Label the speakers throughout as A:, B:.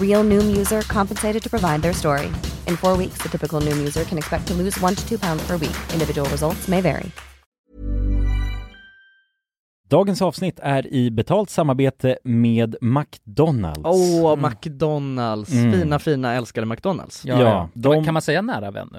A: Real Noom user compensated to provide their story. In four weeks, the typical Noom user can expect to lose one to two pounds per week. Individual results may vary.
B: Dagens avsnitt är i betalt samarbete med McDonalds.
C: Åh, McDonalds.
B: Mm.
C: Fina, fina, älskade McDonalds.
B: Ja, ja, de-
D: Kan man säga nära vän nu?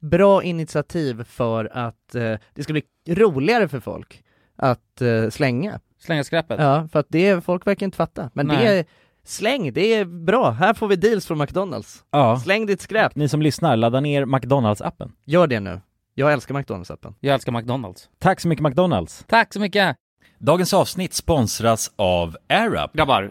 C: bra initiativ för att eh, det ska bli roligare för folk att eh, slänga.
D: Slänga skräpet.
C: Ja, för att det, folk verkar inte fatta. Men det
D: Nej.
C: är, släng, det är bra. Här får vi deals från McDonalds.
B: Ja.
C: Släng ditt skräp.
B: Ni som lyssnar, ladda ner McDonalds-appen.
C: Gör det nu. Jag älskar McDonalds-appen.
D: Jag älskar McDonalds.
B: Tack så mycket McDonalds!
D: Tack så mycket!
B: Dagens avsnitt sponsras av AirUp.
E: Grabbar,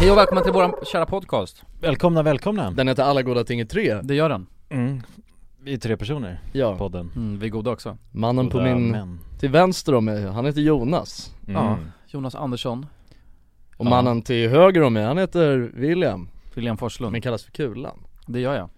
E: Hej och välkomna till våran kära podcast.
B: Välkomna, välkomna!
F: Den heter Alla goda ting i tre.
E: Det gör den.
B: Mm. Vi är tre personer i
F: Ja,
B: podden.
E: Mm, vi är goda också.
F: mannen på
B: Goda
F: min,
B: män.
F: till vänster om mig, han heter Jonas.
B: Mm.
E: Ja. Jonas Andersson,
F: Och
E: Ja.
F: mannen till höger om mig, han heter William,
E: William Forslund.
F: men kallas för Kulan.
E: Det gör jag.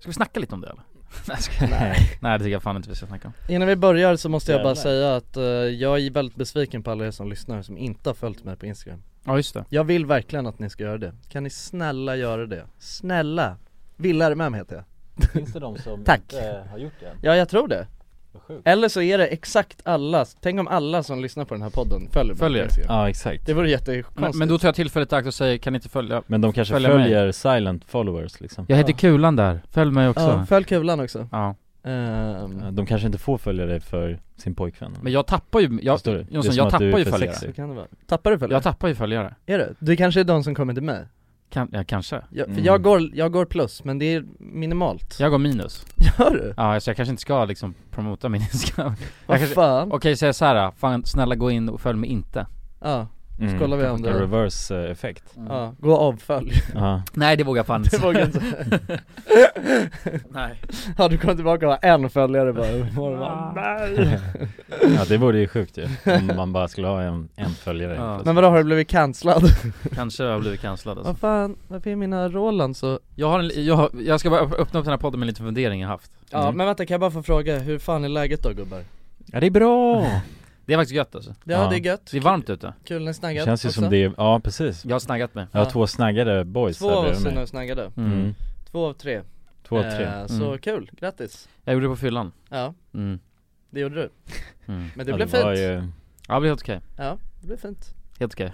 E: Ska vi snacka lite om det eller? Nej, jag skojar. Nej det tycker jag fan inte vi ska snacka om.
F: Innan vi börjar så måste jag bara
B: Jävlar.
F: säga att eh, jag är väldigt besviken på alla er som lyssnar som inte har följt mig på Instagram.
E: Ja just det.
F: Jag vill verkligen att ni ska göra det. Kan ni snälla göra det? Snälla! Villarmem heter jag.
B: Finns det de som
F: Tack.
B: inte har gjort det än?
F: Ja, jag tror det.
B: Vad sjukt.
F: Eller så är det exakt alla, tänk om alla som lyssnar på den här podden följer mig
E: Följer.
F: på Instagram.
B: Ja, exakt.
F: Det vore
E: Men,
F: jättekonstigt.
E: men då tar jag tillfället i akt och säger, kan ni inte följa?
B: Men de kanske
E: Följa
B: följer silent followers liksom.
E: Jag heter Kulan där, följ mig också.
F: Ja, följ Kulan också.
E: Ja.
F: Ehm,
B: Eh, De kanske inte får följa dig för sin pojkvän.
E: Men jag tappar ju, jag,
B: Förstår du? Det är
E: Jonsson,
B: som
E: jag
B: att du är
E: tappar ju
B: för
E: följare.
B: sexig.
F: Så kan det vara. Tappar du följare?
E: Jag tappar ju följare.
F: Är det? Du kanske är de som kommer till mig?
E: Kan, ja, kanske.
F: Jag, för
B: Mm.
F: jag, går, jag går plus, men det är minimalt
E: Jag går minus.
F: Gör du?
E: Ja, så jag kanske inte ska liksom promota min Instagram.
F: Vad
E: kanske-
F: fan?
E: Okej, så jag så här, fan snälla gå in och följ mig inte.
F: Ja,
B: Mm,
F: skålar vi om
B: En
F: det Mm.
B: reverse eh, effekt.
F: Ja, gå och avfölj
B: Ja.
E: Nej det vågar jag fan inte
F: Det
E: säga.
F: vågar jag inte
E: Nej.
F: Ja du kommer tillbaka och har en följare bara, Hur mår du?
B: ja, det vore ju sjukt ju. Om man bara skulle ha en, en följare.
E: Ja.
F: Men vadå, har du blivit cancellad?
E: Kanske jag har blivit cancellad alltså.
F: Vad fan, varför är mina Roland så?
E: Jag har en, jag, har- jag ska bara öppna upp den här podden med lite fundering jag haft.
F: Ja
B: Mm.
F: men vänta, kan jag bara få fråga, hur fan är läget då gubbar?
B: Ja, det är bra!
E: Det är faktiskt gött alltså.
F: Ja,
B: Ja.
F: det är gött,
E: Det är varmt ute.
F: kul ni
B: Det
F: snaggade
B: känns ju
F: också.
B: som det är, ja precis.
E: Jag har snaggat mig.
B: Jag har
F: Ja.
B: två snaggade boys
F: Två
B: här
F: av
B: bredvid
F: oss är
B: mig.
F: nu och snaggade,
E: Mm.
B: Mm.
F: två av tre
B: Två, tre.
F: Eh, Så
E: Mm.
F: kul, grattis
E: Jag gjorde det på fyllan.
F: Ja,
E: Mm.
F: det gjorde du
E: Mm.
F: Men det
B: Ja,
F: blev
B: var
F: fint
B: ju-
E: Ja det blir helt okej.
F: Ja, det blev fint
E: Helt okej.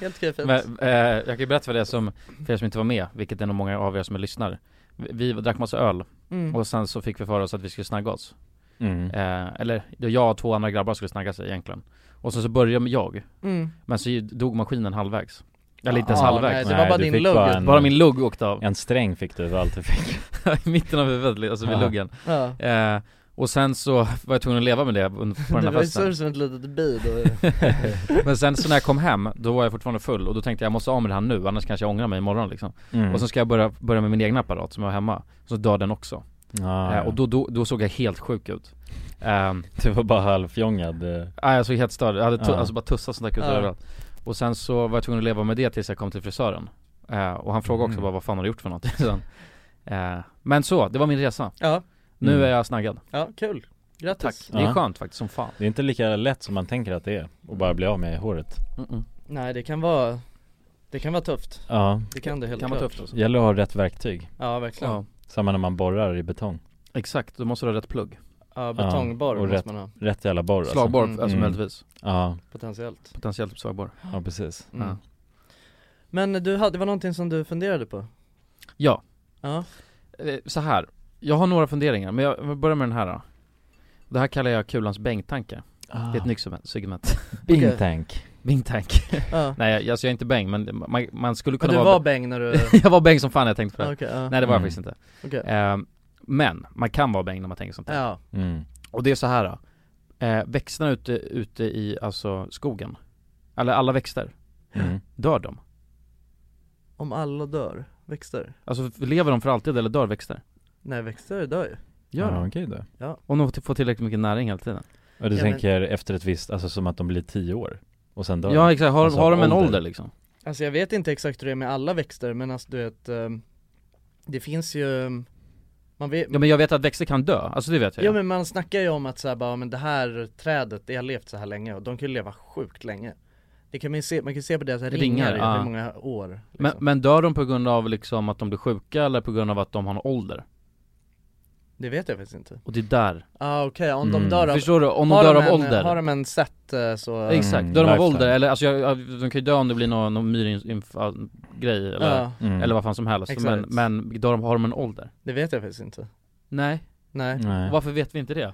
F: Helt okej fint
E: Men, eh, jag kan ju berätta för er som, för er som inte var med, vilket är nog många av er som lyssnar. Vi, vi drack massa öl
F: mm.
E: och sen så fick vi för oss att vi skulle snagga oss.
B: Mm.
E: Eh, eller det var jag och två andra grabbar skulle snagga sig egentligen. Och sen så började jag,
F: Mm.
E: men så dog maskinen halvvägs. Eller inte ens
F: Ja,
E: halvvägs.
F: Ah, nej, det var
B: Nej,
F: bara
B: du
F: din
B: fick
F: lugg.
B: bara en-
E: Bara min lugg åkte av.
B: En sträng fick du för allt du fick.
E: I mitten av huvudet, alltså vid
B: Ja.
E: luggen.
F: Ja.
E: Eh, och sen så var jag tvungen att leva med det under- på
F: Det
E: den här
F: var ju så
E: festen.
F: som ett litet bi då
E: Men sen så när jag kom hem, då var jag fortfarande full och då tänkte jag jag måste av med det här nu, annars kanske jag ångrar mig imorgon liksom.
B: Mm.
E: Och sen ska jag börja, börja med min egna apparat som jag har hemma, så dör den också.
B: Ah, ja,
E: eh, och då, då, då såg jag helt sjuk ut. Eh,
B: Du var bara halvfjångad. eh.
E: Ja, jag såg helt störd, jag hade tu-
B: Ja.
E: alltså bara tussar som stack ut
F: Ja.
E: överallt Och sen så var jag tvungen att leva med det tills jag kom till frisören eh, Och han frågade också
B: Mm.
E: bara vad fan har du gjort för någonting sen eh, Men så, det var min resa
F: Ja,
E: Nu
B: Mm.
E: är jag snaggad,
F: ja kul Grattis
E: det är
B: Ja.
E: skönt faktiskt som fan
B: Det är inte lika lätt som man tänker att det är att bara bli av med håret.
F: Mm,
E: Mm-mm.
F: Nej det kan vara Det kan vara tufft
B: Ja,
F: Det kan det
E: Det
F: helt
E: kan
F: klart
E: vara tufft alltså.
B: gäller att ha rätt verktyg.
F: Ja verkligen Ja,
E: ja.
B: Samma när man borrar i betong.
E: Exakt, då måste du ha rätt plugg
F: betongborr
B: och
F: måste
B: rätt.
F: man ha
B: Rätt jävla borr alltså.
E: Slagborr,
F: Mm.
E: alltså
B: Mm.
E: möjligtvis
B: Ja,
F: potentiellt
E: Potentiellt typ slagborr
B: ja precis.
F: mm.
E: Ja.
F: Men du hade, det var någonting som du funderade på?
E: Ja,
F: Ja,
E: eh, så här. Jag har några funderingar, men jag jag börjar med den här då.
B: Ah.
E: Det här kallar jag kulans bänktanke, det är ett nytt segment
B: Bing tank.
E: Bing Tank.
F: Ja.
E: Nej jag- alltså jag är inte bäng men man, man skulle
F: Men
E: kunna
F: du
E: vara
F: var bäng när du...
E: jag var bäng som fan när jag tänkte på det.
F: Okej, ja.
E: Nej det var jag
B: Mm.
E: faktiskt inte.
F: Okej.
E: Ehm, men man kan vara bäng när man tänker sånt här.
F: Ja.
B: Mm.
E: Och det är så här. då. Eh, växterna ute, ute i alltså skogen, eller alla växter,
B: Mm.
E: dör de?
F: Om alla dör, växter?
E: Alltså lever de för alltid eller dör växter?
F: Nej växter dör ju.
E: Gör
B: Ja,
E: de?
B: okej då.
E: Om de får tillräckligt mycket näring hela tiden?
B: Och du
F: Ja, men-
B: tänker efter ett visst, alltså som att de blir tio år och sen dör
E: Ja exakt, har,
B: Alltså,
E: har de en
B: ålder.
E: ålder, liksom?
F: Alltså jag vet inte exakt hur det är med alla växter men alltså du vet, ehm, det finns ju, ehm, man vet,
E: Ja men jag vet att växter kan dö, alltså det vet jag
F: Ja men man snackar ju om att så här, bara, men det här trädet, det har levt så här länge och de kan ju leva sjukt länge Det kan man ju se, man kan ju se på deras ringar,
E: Ringar,
F: hur
E: ja.
F: många år
E: men,
F: liksom.
E: men dör de på grund av liksom att de blir sjuka eller på grund av att de har en ålder?
F: Det vet jag faktiskt inte
E: Och det är där,
F: Ah okej, om
B: Mm.
F: de dör av,
E: förstår du? Om de
F: har
E: dör av
F: en,
E: ålder?
F: Har de en set eh, så
E: Exakt,
B: Mm,
E: dör de av
B: lifetime.
E: ålder, eller alltså jag, jag, de kan ju dö om det blir någon, någon myrinf-grej eller,
F: Ja,
B: Mm.
E: eller vad fan som helst, men,
F: Exakt.
E: men dör de, har de en ålder?
F: det vet jag faktiskt inte
E: Nej,
F: Nej,
B: Nej.
E: varför vet vi inte det?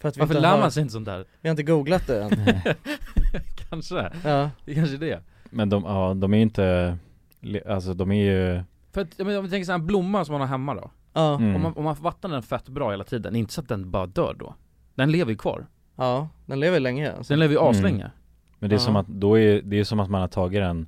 F: för att vi,
E: Mm. Varför
F: inte
E: lär
F: har,
E: man sig inte sånt där?
F: vi har inte googlat det än
E: Kanske,
F: Ja,
E: det är kanske är det
B: Men de, ja, de är ju inte, le- alltså de är ju
E: För att, ja, men om vi tänker såhär, blomman som man har hemma då,
F: ja,
B: mm.
E: om, man, om man vattnar den fett bra hela tiden, inte så att den bara dör då Den lever ju kvar,
F: ja, den lever ju länge alltså.
E: den lever ju
B: Mm.
E: aslänge
B: Men det är som
F: Ja.
B: att, då är, det är som att man har tagit den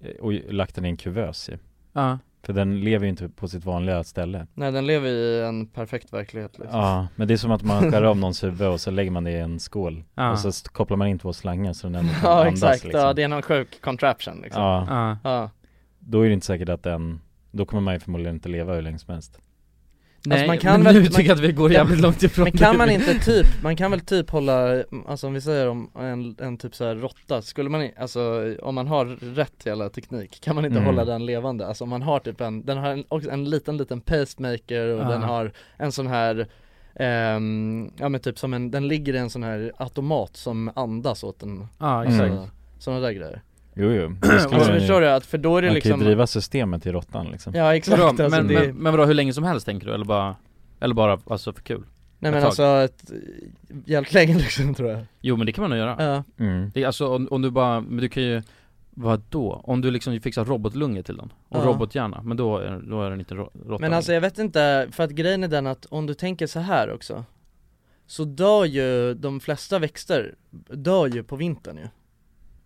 B: eh, och lagt den i en kuvös ju.
E: Ja,
B: För den lever ju inte på sitt vanliga ställe
F: Nej den lever i en perfekt verklighet liksom.
B: Ja, men det är som att man skär av någons huvud och så lägger man det i en skål
E: ja,
B: Och så st- kopplar man in två slangar så den ändå kan
F: Ja
B: andas
F: exakt,
B: liksom.
F: ja det är någon sjuk contraption liksom Ja,
B: ja,
E: ja.
B: då är det inte säkert att den, då kommer man ju förmodligen inte leva hur länge som helst
E: Nej,
F: Alltså, man kan
E: men
F: väl-
E: nu
F: man-
E: tycker jag att vi går
F: Ja,
E: jävligt långt ifrån
F: Men kan
E: det.
F: man inte typ, man kan väl typ hålla, alltså om vi säger om en, en typ så här råtta, skulle man i- alltså om man har rätt jävla teknik, kan man inte
B: Mm.
F: hålla den levande? Alltså om man har typ en, den har en, också en liten liten pacemaker och
E: Ja.
B: Ah.
F: den har en sån här ehm, ja men typ som en, den ligger i en sån här automat som andas åt en,
E: Ja,
B: Mm.
E: exakt
F: alltså, sådana där grejer
B: Jo jo, då skulle
F: Alltså
B: man, ju,
F: förstår du att, för då är det
B: man kan ju
F: liksom
B: driva systemet i råttan liksom
F: Ja exakt,
E: Vadå,
F: alltså,
E: men,
F: det,
E: men, men vadå, hur länge som helst tänker du? Eller bara, eller bara alltså för kul?
F: nej
E: ett
F: men
E: tag.
F: alltså, ett, jävligt länge liksom tror jag
E: Jo men det kan man nog göra
F: Ja,
B: mm.
E: det, är Alltså om, om du bara, men du kan ju Vadå? Om du liksom fixar robotlungor till den, och
F: Ja.
E: robothjärna, men då är, då är den inte rå- råtta
F: Men alltså jag vet inte, för att grejen är den att om du tänker så här också Så dör ju de flesta växter, dör ju på vintern ju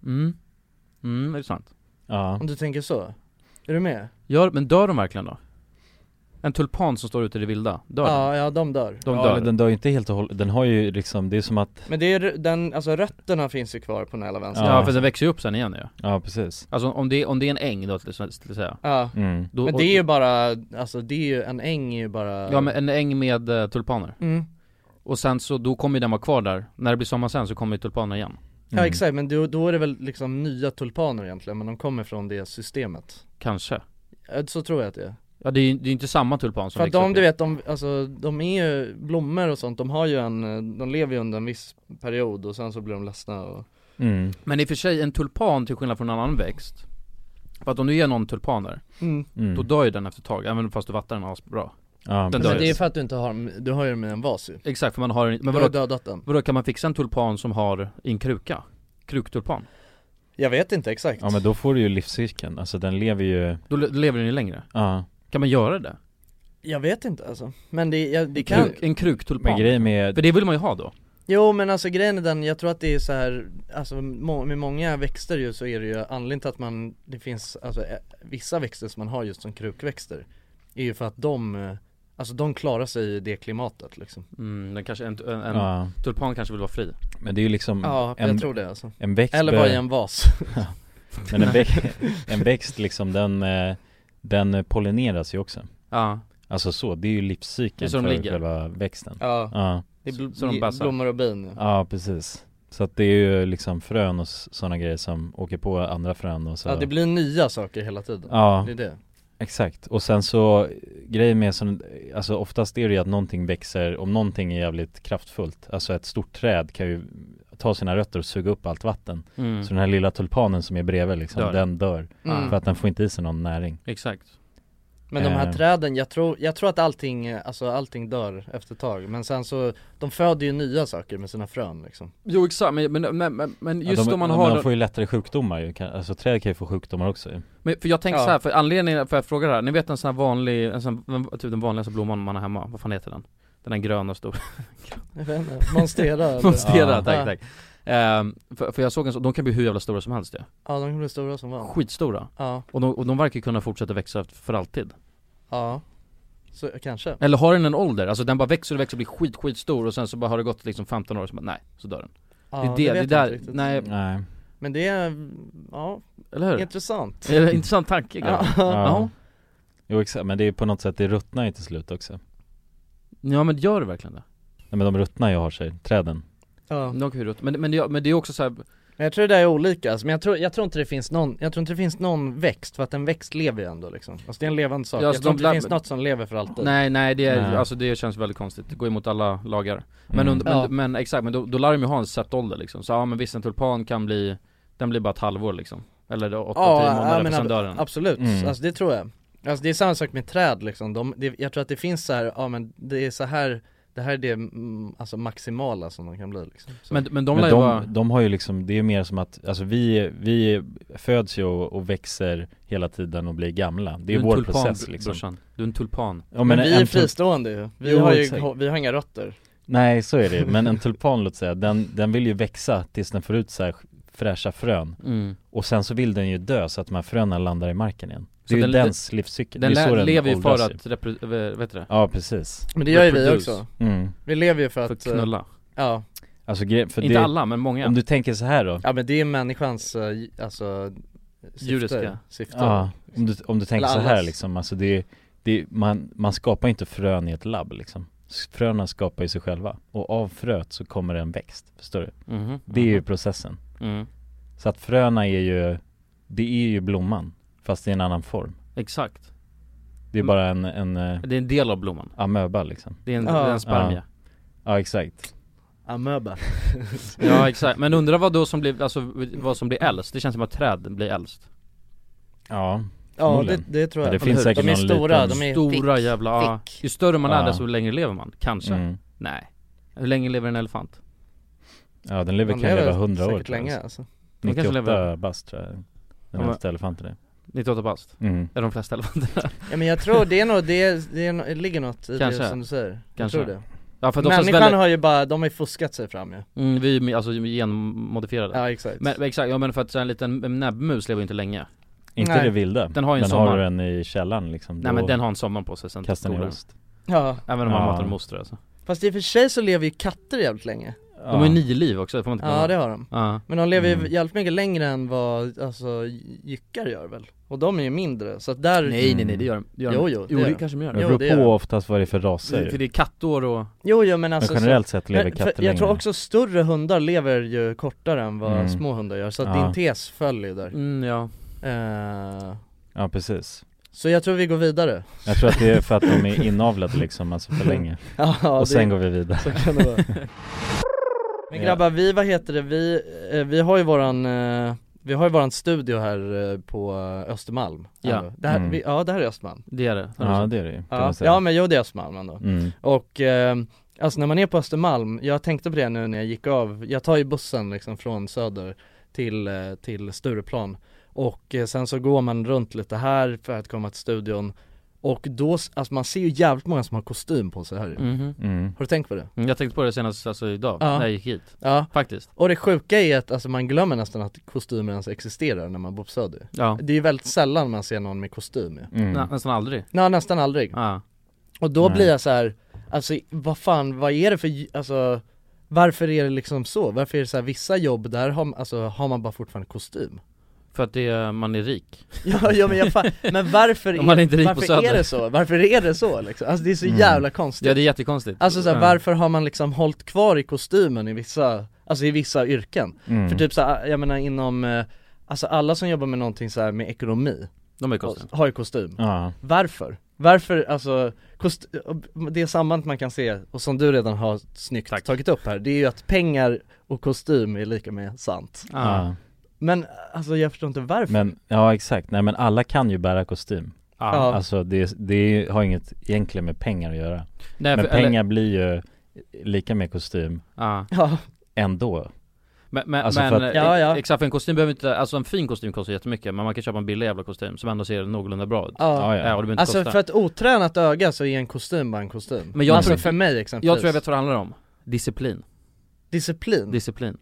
E: Mm, mm, är det sant?
B: Ja,
F: Om du tänker så Är du med?
E: Ja, men dör de verkligen då? En tulpan som står ute i det vilda, dör
F: Ja, ja de dör
E: den? De
B: ja
E: dör?
B: eller den dör ju inte helt och hållet, den har ju liksom, det är som att,
F: Men det är ju den, alltså rötterna finns ju kvar på den här lavensen
E: Ja,
B: Ja.
E: för den växer ju upp sen igen ju
B: ja precis
E: Alltså om det, om det är en äng då till till att säga
F: Ja,
B: mm.
E: då,
F: men det är ju bara, alltså det är ju, en äng är ju bara
E: Ja men en äng med eh, tulpaner
F: mm.
E: Och sen så, då kommer ju den vara kvar där, när det blir sommar sen så kommer ju tulpanen igen
F: Ja exakt, men då, då är det väl liksom nya tulpaner egentligen, men de kommer från det systemet
E: Kanske
F: Eh, Så tror jag att det är
E: Ja det är ju det är ju inte samma tulpan som
F: För att
E: växer
F: de,
E: upp
F: du
E: i-
F: vet, de, alltså, de är ju blommor och sånt, de har ju en, eh, de lever ju under en viss period och sen så blir de ledsna och
B: Mm.
E: Men i och för sig, en tulpan till skillnad från en annan växt För att om du ger någon tulpaner,
B: Mm.
E: då dör ju den efter ett tag, även fast du vattnar den asbra
B: ja,
E: den
F: Men
E: dör
B: precis.
F: det är ju för att du inte har dem, du har ju dem i en vas ju
E: Exakt, för man har en, men
F: Du har
E: vadå,
F: dödat den
E: vadå, kan man fixa en tulpan som har i en kruka? Kruktulpan?
F: Jag vet inte exakt
B: Ja men då får du ju livscykeln, alltså den lever ju,
E: Då le- lever den ju längre
B: ja
E: Kan man göra det?
F: Jag vet inte alltså, men det, ja, det kan
E: Kruk, en
B: Men
E: kruktulpan?
B: grejen med,
E: För det vill man ju ha då?
F: Jo men alltså grejen är den, jag tror att det är så här, alltså må, med många växter ju så är det ju anledningen till att man, det finns alltså eh, vissa växter som man har just som krukväxter Är ju för att de, eh, alltså de klarar sig i det klimatet liksom
E: Mm, den kanske, en, en, en
B: ja,
E: tulpan kanske vill vara fri
B: men det är ju liksom
F: Ja, jag
B: en,
F: tror det alltså
B: en växt
F: Eller
B: bör-
F: bara i en vas
B: Men en växt, en växt liksom den, eh, den pollineras ju också
E: Ja,
B: Alltså så, det är ju livscykeln
E: Det är så de
B: för
E: ligger.
B: själva växten
F: Ja
B: Ja,
F: Det är bl-
E: Så de
F: bl-
E: bassar.
F: blommor och bin ja.
B: ja precis Så att det är ju liksom frön och sådana grejer som åker på andra frön och så
F: ja, det blir nya saker hela tiden
B: Ja,
F: Det är det
B: exakt. Och sen så, grejen med sån, alltså oftast är det ju att någonting växer, om någonting är jävligt kraftfullt, alltså ett stort träd kan ju ta sina rötter och suga upp allt vatten.
E: mm.
B: Så den här lilla tulpanen som är bredvid liksom,
E: Dör.
B: den dör.
F: Mm.
B: För att den får inte i sig någon näring.
E: exakt
F: Men de här
B: Eh.
F: träden, jag tror, jag tror att allting, eh, alltså allting dör efter ett tag Men sen så, de föder ju nya saker med sina frön liksom
G: Jo exakt, men, men, men, men- men just
B: ja, de,
G: om man
B: men
G: har
B: de
G: den-
B: får ju lättare sjukdomar ju, kan- alltså träd kan ju få sjukdomar också ju.
E: Men för jag tänker
G: Ja.
E: så här, för anledningen för att jag frågar det här, ni vet en sån här vanlig, en sån, den- typ den vanligaste blomman man har hemma, vad fan heter den? Den där gröna stora
F: Jag vet inte, monstera eller?
E: Monstera,
B: Ja.
E: tack tack Ehm, för, för jag såg en sån, de kan bli hur jävla stora som helst ju
F: Ja de kan bli stora som vanligt
E: Skitstora,
F: Ja,
E: och de, och de verkar kunna fortsätta växa för alltid
F: ja Så kanske
E: Eller har den en ålder? Alltså den bara växer och växer och blir skit skitstor och sen så bara har det gått liksom 15 år och så bara, nej, så dör den
F: ja,
E: Det är det,
F: vet
E: det där,
F: jag inte riktigt.
E: nej,
B: Nej.
F: Men det är, ja,
E: eller hur?
F: intressant
E: Är det intressant tanke grabbar?
B: Ja. Jo exakt, men det är på något sätt, det ruttnar ju till slut också.
E: Ja men gör det verkligen det?
B: Nej men de ruttnar ju och har sig, träden.
F: Ja.
E: De kan ju rutt- men, men, det- men det är också så här,
F: Men jag tror det där är olika, alltså. men jag tror, jag tror inte det finns någon, jag tror inte det finns någon växt för att en växt lever ju ändå liksom Alltså det är en levande sak,
E: Ja,
F: jag
E: alltså,
F: tror
E: de
F: inte det
E: lab-
F: finns något som lever för alltid
E: nej nej det, är,
B: Nej.
E: Alltså, det känns väldigt konstigt, det går emot alla lagar Men,
B: Mm.
E: und- men,
F: Ja.
E: men exakt, men då, då lär de ju ha en set ålder liksom. Så ja men visst en tulpan kan bli, den blir bara ett halvår liksom. Eller då 8-10 månader, för
F: men
E: sen
F: ab-
E: dör den.
F: Absolut,
B: Mm.
F: alltså det tror jag Alltså det är samma sak med träd liksom, de, det, jag tror att det finns så här, ja men det är så här Det här är det mm, alltså maximala som de kan bli liksom så.
E: Men, men de lär
B: men
E: ju
B: de,
E: vara,
B: de har ju liksom, det är ju mer som att, alltså vi, vi föds ju och, och växer hela tiden och blir gamla. Det är
E: en
B: vår
E: tulpan,
B: process
E: br-
B: liksom.
E: brorsan. Du är en tulpan.
B: Ja,
F: men, vi är
B: en tul-
F: fristående ju, vi
B: Jo,
F: har ju,
B: exakt.
F: vi har inga rötter
B: Nej så är det ju. men en tulpan låt säga, den, den vill ju växa tills den får ut så här fräscha frön. Och sen så vill den ju dö så att de här fröna landar i marken igen. Det
E: Så
B: är ju
E: den-
B: dens livscykel,
E: Den,
B: det är
E: lär,
B: så den
E: lever ju för
B: åldras
E: att, repre, äh, vet du det?
B: Ja precis,
F: Men det gör ju vi
E: Reproduce.
F: också,
B: mm.
F: vi lever ju för att,
E: För att knulla.
F: eh, ja,
B: Alltså gre- för
E: Inte
B: det,
E: alla, men många.
B: om du tänker så här då
F: ja men det är människans, eh, j- alltså syfte,
E: Djuriska.
F: syfte.
B: Ja, om du, om du tänker
F: Eller
B: så här
F: allas.
B: liksom, alltså det, är- det är- man, man skapar ju inte frön i ett labb liksom S- Fröna skapar ju sig själva och av fröet så kommer en växt, förstår du?
E: Mhm,
B: Det är ju
E: mhm.
B: processen
E: Mm.
B: Så att fröna är ju, det är ju blomman fast i en annan form
E: Exakt.
B: Det är
E: Mm.
B: bara en, en eh,
E: Det är en del av blomman.
B: amöba liksom
E: Det är en,
F: Ja.
E: det är en spermie.
B: Ja exakt
F: Amöba
E: Ja. exakt. Men undrar vad då som blir, alltså vad som blir äldst? Det känns som att träd blir äldst.
B: Ja,
F: Ja det,
B: Förmodligen.
F: det tror
B: men
F: jag
B: det finns
E: hur?
B: säkert
F: De är
B: någon
F: stora,
B: liten...
F: de är
E: Stora
H: Fick,
E: jävla, ja.
H: fick.
E: Ju större man är
B: Ja.
E: desto längre lever man, kanske.
B: mm.
E: Nej. Hur länge lever en elefant?
B: Ja den lever,
F: de
B: kan leva
F: lever
B: 100 år
F: säkert
B: tror jag.
F: länge alltså.
E: De kanske
B: 98
E: lever-
B: bast tror jag
E: Ja,
B: Den
E: men-
B: äldsta elefanten är
E: 98 bast?
B: mm.
E: Är de flesta elefanter?
F: Ja men jag tror det är nog, det, är, det, är, nog- det ligger något i
E: Kanske.
F: det som du säger
E: Kanske.
F: Jag tror det
E: ja för de
F: Människan
E: flesta väldigt,
F: har ju bara, de har ju fuskat sig fram ju
E: mm, vi är ju alltså genmodifierade
F: Ja exakt
E: Men men exakt, ja men för att så här en liten näbbmus lever ju inte länge
B: Inte
F: Nej.
B: det vilda,
E: Den har ju en
B: men
E: sommar.
B: har du den i källaren liksom
E: Nej
B: då
E: men den har en sommar på sig sen
B: kastar den i
E: skolan.
B: ost
F: Ja,
E: Även om man
B: Ja.
E: matar dem ostrar alltså
F: fast i och för sig så lever ju katter jävligt länge
E: De har ju nio liv också, det får man inte
F: Ja det har de
E: ja.
F: Men de lever ju
B: Mm.
F: jävligt mycket längre än vad, alltså gy- gyckor gör väl? Och de är ju mindre, så att där
E: Nej nej nej det gör de, det gör de.
F: Jo, jo,
E: jo
F: det
E: det,
F: gör de.
E: kanske de gör
B: Det
F: Jo,
B: beror
F: det
B: på
F: gör den.
B: oftast vad det är för raser
E: det, För det är kattår och,
F: Jo jo men
B: Men
F: alltså
B: generellt sett
F: så...
B: lever
F: Men,
B: katter
F: för, jag tror också större hundar lever ju kortare än vad
B: Mm.
F: små hundar gör, så att
B: Ja.
F: din tes föll ju där
E: mm, ja
F: Eh,
B: Ja precis
F: Så jag tror vi går vidare
B: Jag tror att det är för att de är inavlade liksom, alltså för länge
F: Ja,
B: Och
F: det-
B: sen går vi vidare
F: Så kan det vara Men grabbar, vi, vad heter det, vi, eh, vi har ju våran, eh, vi har ju våran studio här eh, på eh, Östermalm
E: Ja.
F: Ändå. det här,
B: Mm.
F: vi, Ja det här är Östermalm
E: det är det
B: Ja det är det ju, kan
F: Ja,
B: man säga
F: ja men jo det är Östermalm ändå
B: mm.
F: Och eh, alltså när man är på Östermalm, jag tänkte på det nu när jag gick av, jag tar ju bussen liksom från Söder till, eh, till Stureplan och eh, sen så går man runt lite här för att komma till studion och då, s- alltså man ser ju jävligt många som har kostym på sig här ju.
E: Mhm.
B: Mm.
F: Har du tänkt på det?
E: Mm, Jag tänkte på det senast alltså idag,
F: Ja.
E: när jag gick hit,
F: Ja,
E: faktiskt
F: och det sjuka är att alltså, man glömmer nästan att kostymer ens existerar när man bor på Söder
E: Ja,
F: Det är ju väldigt sällan man ser någon med kostym ju.
B: Mm.
E: Nä, nästan aldrig
F: Nej nästan aldrig
E: Ja,
F: Och då
B: Nej.
F: blir jag så här, alltså vad fan, vad är det för, j- alltså varför är det liksom så? Varför är det så här, vissa jobb där har, alltså, har man bara fortfarande kostym?
E: för att det är, man är rik
F: Ja, ja men jag fan, men varför,
E: Om man är inte
F: är,
E: rik på
F: varför är
E: Söder.
F: det så? Varför är det så liksom? Alltså det är så jävla konstigt
E: Ja det är jättekonstigt
F: Alltså så här,
E: Ja.
F: varför har man liksom hållit kvar i kostymen i vissa, alltså i vissa yrken?
B: Mm.
F: För typ så här, jag menar inom, eh, alltså alla som jobbar med någonting så här med ekonomi
E: De är konstiga
F: har ju kostym
B: Ja,
F: Varför? Varför, alltså, kost, det sambandet man kan se, och som du redan har snyggt
E: Tack.
F: tagit upp här, det är ju att pengar och kostym är lika med sant
E: Ja.
B: ja.
F: Men alltså jag förstår inte varför
B: Men, ja exakt, nej men alla kan ju bära kostym
I: Ja.
J: Alltså det, det har inget egentligen med pengar att göra
E: Nej,
J: Men
E: för- eller-
J: pengar blir ju lika med kostym
E: Ja.
I: Ja.
J: Ändå
E: Men, men,
J: Alltså för
E: men
J: att-
E: eh,
J: Ja, ja.
E: exakt för en kostym behöver inte, alltså en fin kostym kostar jättemycket men man kan köpa en billig jävla kostym som ändå ser någorlunda bra ut
F: Ja,
E: och det behöver inte
F: alltså
E: kosta.
F: för ett otränat öga så är en kostym bara en kostym
E: Men jag
F: alltså
E: tror-
F: för Mm. mig exempelvis
E: Jag tror jag vet vad det handlar om, disciplin
F: Disciplin?
E: Disciplin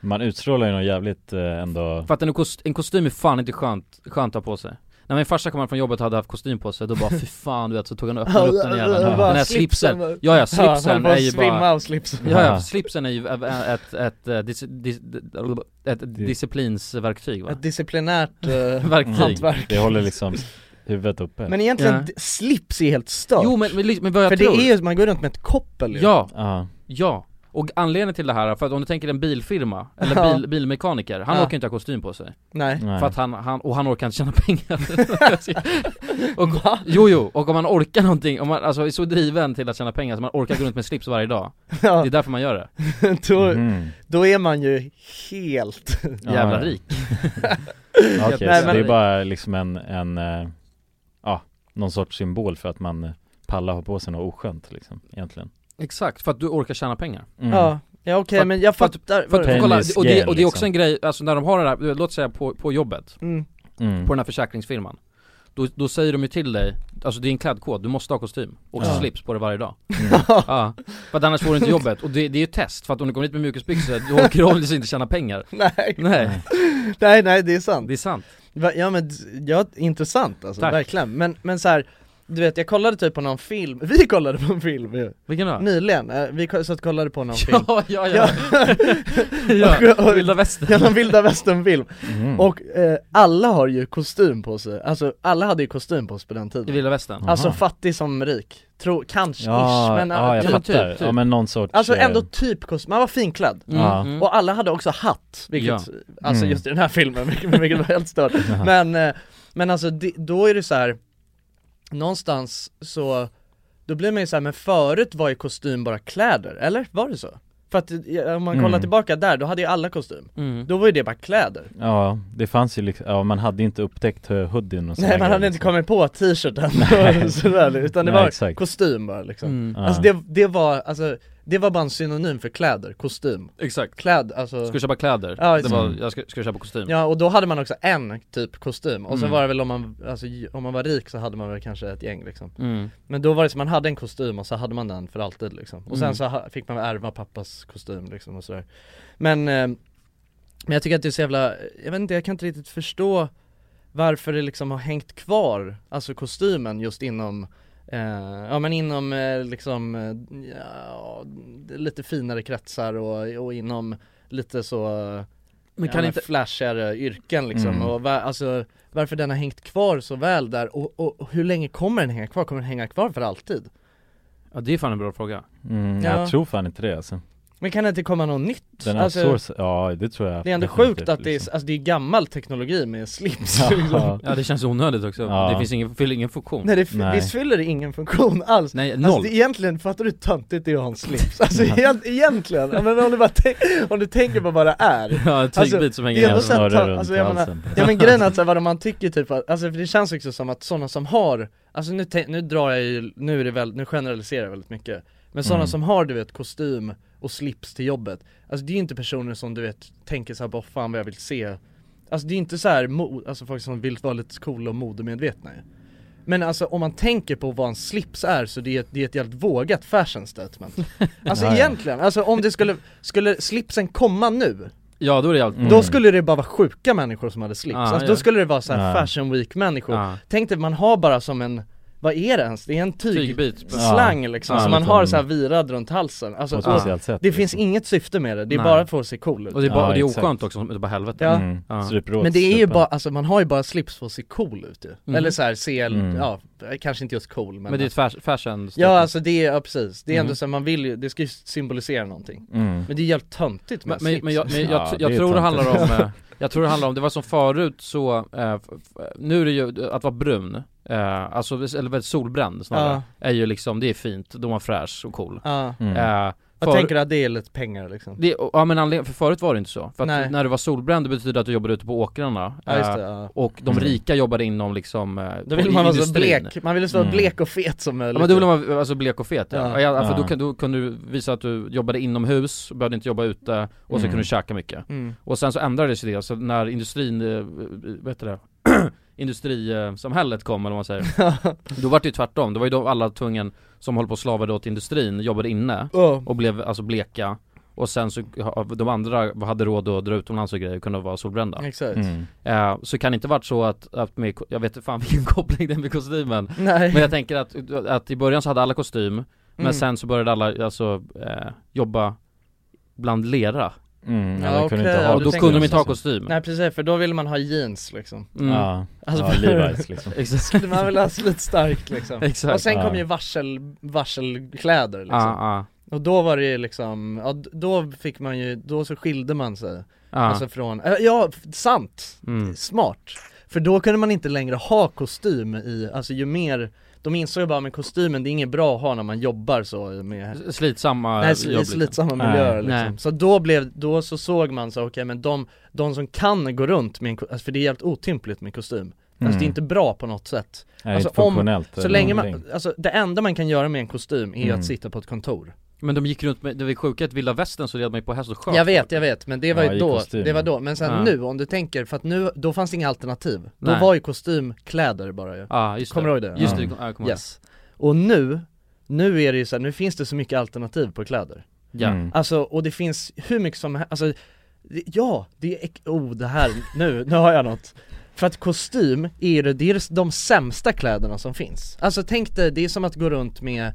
J: Man utstrålar ju något jävligt eh, ändå
E: För att en, kost, en kostym är fan inte skönt, skönt att ha på sig när min farsa kom hem från jobbet och hade haft kostym på sig, då bara fy fan du vet, så tog han och öppnade upp den jäveln,
F: Ja, bara
E: den här
F: slipsen.
E: slipsen Ja ja,
F: Ja, han höll
E: slipsen
F: på att
E: är ju
F: svimma
E: bara
F: av slipsen.
E: Ja
F: Ja.
E: ja, slipsen är ju ett, ett, ett, eh, dis, dis, ett disciplinsverktyg va?
F: Ett disciplinärt eh,
E: Verktyg.
B: Mm.
F: hantverk
J: Det håller liksom huvudet uppe
F: Men egentligen,
E: Ja.
F: d- slips är helt stört
E: Jo, men- men li- men vad jag
F: För
E: tror-
F: det är ju, man går runt med ett koppel ju.
E: Ja, ja. Och anledningen till det här, för att om du tänker en bilfirma, eller
F: Ja.
E: bil, bilmekaniker, han
F: Ja.
E: orkar inte ha kostym på sig
F: Nej. Nej.
E: För att han, han, och han orkar inte tjäna pengar och, Jo jo, och om man orkar någonting, om man alltså är så driven till att tjäna pengar så man orkar gå runt med slips varje dag Det är därför man gör det mm-hmm. Mm.
F: då,
J: Mhm.
F: då är man ju helt
E: Jävla rik.
J: Okej,
E: Jävla
J: så
F: rik.
J: det är bara liksom en, en, eh, ja, någon sorts symbol för att man eh, pallar ha på sig något oskönt liksom, egentligen
E: Exakt, för att du orkar tjäna pengar
J: Mm.
F: Ja, ja okej
E: För-
F: men jag
E: för att-
F: fattar
E: för att-
J: Pain
E: kolla,
J: is
E: och, det,
J: gain,
E: och det är också
J: liksom.
E: en grej, alltså när de har det här, du- låt säga på, på jobbet,
F: Mm.
J: Mm.
E: på den här försäkringsfirman då, då säger de ju till dig, alltså det är en klädkod, du måste ha kostym och
J: Ja.
E: slips på dig varje dag ja. För att annars får du inte jobbet, och det, det är ju ett test, för att om du kommer hit med mjukisbyxor, då orkar du obviously inte tjäna pengar
F: Nej.
E: Nej,
F: Nej nej det är sant
E: det är sant
F: Va- Ja men, d- ja, intressant alltså,
E: Tack.
F: verkligen Men, men så här, du vet jag kollade typ på någon film, vi kollade på en film ju
E: Vilken då?
F: Nyligen, eh, vi ko- satt och kollade på någon film
E: Ja, ja, ja, ja.
F: Och- och-
E: vilda västern
F: Ja, någon vilda västern film
J: Mm.
F: Och eh, alla har ju kostym på sig, alltså alla hade ju kostym på sig på den
E: I
F: tiden
E: vilda västern?
F: Alltså fattig som rik, Tro, kanske ish,
J: Mm. Ja,
F: men
J: ja jag
F: ja,
J: fattar,
E: typ,
J: ja men någon sorts
F: Alltså ändå
J: eh,
F: typ kostym, man var finklädd
J: ja.
E: Mm.
F: Och alla hade också hatt, vilket,
E: Ja.
F: alltså
J: Mm.
F: just i den här filmen, vilket, vilket var helt stört Men, eh, men alltså det, då är det så här någonstans så, då blir man ju så här, men förut var ju kostym bara kläder, eller? Var det så? För att eh, om man kollar
J: Mm.
F: tillbaka där, då hade ju alla kostym
E: Mm.
F: Då var ju det bara kläder
J: Ja, det fanns ju liksom, ja man hade ju inte upptäckt eh, hoodien och såna
F: Nej man hade
J: grejer,
F: inte
J: liksom.
F: kommit på t-shirten och sådär, utan det
J: Nej,
F: var
J: exakt.
F: kostym bara liksom
E: Mm.
J: Ja.
F: Alltså det, det var, alltså det var bara en synonym för kläder, kostym
E: Exakt
F: Kläd, alltså
E: Ska du köpa kläder?
F: Ja,
E: det
F: exakt.
E: var, jag ska, ska du köpa kostym?
F: Ja och då hade man också en typ kostym, och så
E: Mm.
F: var det väl om man, alltså, j- om man var rik så hade man väl kanske ett gäng liksom
E: Mm.
F: Men då var det som man hade en kostym och så hade man den för alltid liksom Och sen
E: Mm.
F: så ha- fick man ärva pappas kostym liksom och sådär Men, eh, men jag tycker att det är så jävla, jag vet inte jag kan inte riktigt förstå varför det liksom har hängt kvar, alltså kostymen just inom eh, ja men inom eh, liksom, eh, ja, lite finare kretsar och, och inom lite så eh,
E: Men
F: ja,
E: kan
F: men
E: inte,
F: flashigare yrken liksom
J: Mm.
F: och va, alltså varför den har hängt kvar så väl där och, och, och hur länge kommer den hänga kvar? Kommer den hänga kvar för alltid?
E: ja det är fan en bra fråga
J: mm,
F: Ja.
J: Jag tror fan inte det alltså
F: Men kan det inte komma något nytt?
J: Den
F: Alltså,
J: outsource, ja det tror jag
F: det är ändå
J: definitivt,
F: sjukt att det är,
J: liksom.
F: alltså, det är gammal teknologi med slips
J: ja.
E: Ja det känns onödigt också,
J: Ja.
E: det finns ingen, fyller ingen funktion
F: Nej, det f-
J: Nej.
F: visst fyller det ingen funktion alls?
E: Nej,
F: Alltså
E: noll
F: det, egentligen, fattar du hur töntigt det är att ha en slips? Alltså egent- egentligen, ja, men om du bara tänk, om du tänker på vad det är
E: Ja, en tygbit
F: Alltså,
E: som
F: det är
E: hänger
F: ändå
E: ner
F: så
J: snurrar
F: här ta-
J: runt
F: alltså,
J: i
F: jag menar-
J: halsen.
F: Ja men grejen är att så här, vad man tycker typ att, alltså för det känns också som att sådana som har, alltså nu, tän- nu drar jag ju, nu är det väl, nu generaliserar jag väldigt mycket Men sådana
J: Mm.
F: som har du vet kostym och slips till jobbet, alltså det är ju inte personer som du vet tänker såhär bara fan vad jag vill se Alltså det är inte så här, mo- alltså folk som vill vara lite coola och modemedvetna ju. Men alltså om man tänker på vad en slips är så det är ett, det är ett jävligt vågat fashion statement Alltså
J: Ja, ja.
F: egentligen, alltså om det skulle, skulle slipsen komma nu
E: Ja då är det jävligt
J: Mm.
F: då skulle det bara vara sjuka människor som hade slips,
E: Ah,
F: alltså,
E: ja. Ah.
F: då skulle det vara så här
J: Ja.
F: fashion week människor
E: Ja.
F: Tänk dig, man har bara som en, vad är det ens? Det är en tyg,
E: Tygbit Ah.
F: slang liksom,
J: Ja,
F: som
J: en
F: man
J: liten-
F: har så här virad runt halsen alltså,
J: på ett
F: och
J: speciellt sätt
F: Det
J: liksom.
F: finns inget syfte med det, det är
E: Nej.
F: bara för att se cool ut
E: Och det är, bara,
J: Ja,
E: och det är
J: exakt.
E: oskönt också, som är bara helvete
F: Ja.
J: mm.
E: Ja.
J: Stryper åt
F: Men det är ju
J: strupen.
F: bara, alltså man har ju bara slips för att se cool ut ju.
E: Mhm.
F: Eller så här, se,
J: Mm.
F: ja, kanske inte just cool men,
E: Men det är ett fas- fashion
F: Ja alltså det är, ja, precis, det är ändå
E: Mhm.
F: så här, man vill ju, det ska ju symbolisera någonting
J: mm.
F: Men det är helt töntigt med
E: Men, men,
F: slips
E: men jag, men jag,
J: Ja,
E: tr-
J: det
E: jag
J: är
E: tror det
J: töntigt.
E: handlar om, eh, jag tror det handlar om, det var som förut så, eh, f- f- nu är det ju, att vara brun, eh, alltså, eller väldigt solbränd snarare, är ju liksom, det är fint, då är man fräsch och cool
F: Ja,
J: Mm.
E: eh,
F: Jag tänker att det är lite pengar liksom
E: Det, ja men anledningen, för förut var det inte så. För att
F: Nej.
E: när du var solbränd det betydde att du jobbade ute på åkrarna
F: Ja, just det,
E: eh,
F: ja.
E: Och de
F: Mm.
E: rika jobbade inom liksom eh,
F: Då vill
E: i
F: man vara så
E: industrin.
F: blek, man vill så vara
E: Mm.
F: blek och fet som möjligt typ.
E: Ja men då ville man vara alltså, blek och fet ja. ja.
F: Ja.
E: ja, för
F: Ja.
E: Då, kan- då kunde du visa att du jobbade inomhus, behövde inte jobba ute och så
F: Mm.
E: kunde du käka mycket
F: Mm.
E: Och sen så ändrades ju det, så när industrin, eh, vad heter det? industrisamhället kom eller vad man säger Då var det ju tvärtom, det var ju då alla tvungen som höll på och slavade åt industrin, jobbade inne
F: Ja.
E: och blev alltså bleka och sen så, de andra hade råd att dra utomlands och grejer och kunde vara solbrända
F: Exakt.
J: Mm.
E: Eh, Så kan det inte varit så att, att med, jag vet inte fan vilken koppling det är med kostymen
F: Nej.
E: Men jag tänker att, att i början så hade alla kostym Men
F: Mm.
E: sen så började alla alltså, eh, jobba bland lera
J: Mm,
F: Ja,
E: och
F: okej, ja, du
E: då
F: tänker
E: kunde de
F: så.
E: inte ha kostym
F: Nej precis, för då vill man ha jeans liksom
E: Mm. Ja.
F: Alltså,
E: Ja, Levi's, liksom. Exakt.
F: Skulle man vill ha lite starkt liksom
E: Exakt.
F: Och sen kom
E: Ja.
F: ju varsel, varselkläder liksom
E: Ja, ja.
F: Och då var det ju liksom, ja, d- då fick man ju, då så skilde man sig
E: Ja.
F: Alltså från, äh, ja f- sant,
E: Mm.
F: smart För då kunde man inte längre ha kostym i, alltså ju mer de insåg ju bara med kostymen, det är inget bra att ha när man jobbar så med
E: S- slitsamma
F: Nej, sl-
E: jobb, liksom.
F: slitsamma miljöer
E: Nej.
F: liksom. Så då blev, då så såg man så okej men de, de som kan gå runt med en ko- alltså, för det är jävligt otympligt med kostym Alltså
J: Mm.
F: det är inte bra på något sätt
J: Nej,
F: alltså,
J: inte funktionellt
F: så
J: eller
F: länge man,
J: någonting.
F: alltså det enda man kan göra med en kostym är ju
E: Mm.
F: att sitta på ett kontor
E: Men de gick runt med, det var sjuka att vilda västern så red man ju på häst och sköt
F: Jag vet, jag vet, men det var
E: Ja,
F: ju
E: i
F: då,
E: kostym.
F: det var då, men sen
E: Ja.
F: nu om du tänker, för att nu, då fanns det inga alternativ Då
E: Nej.
F: var ju kostym kläder bara ju
E: Ja, just det.
F: Kommer du ihåg det?
E: Just det, ja, jag kommer ihåg.
F: yes. Och nu, nu är det ju så här, nu finns det så mycket alternativ på kläder
E: Ja. Mm.
F: Alltså, och det finns hur mycket som he- alltså, det- ja, det är, ek- oh det här, nu, nu har jag något för att kostym är ju det, det är de sämsta kläderna som finns Alltså tänk dig, det är som att gå runt med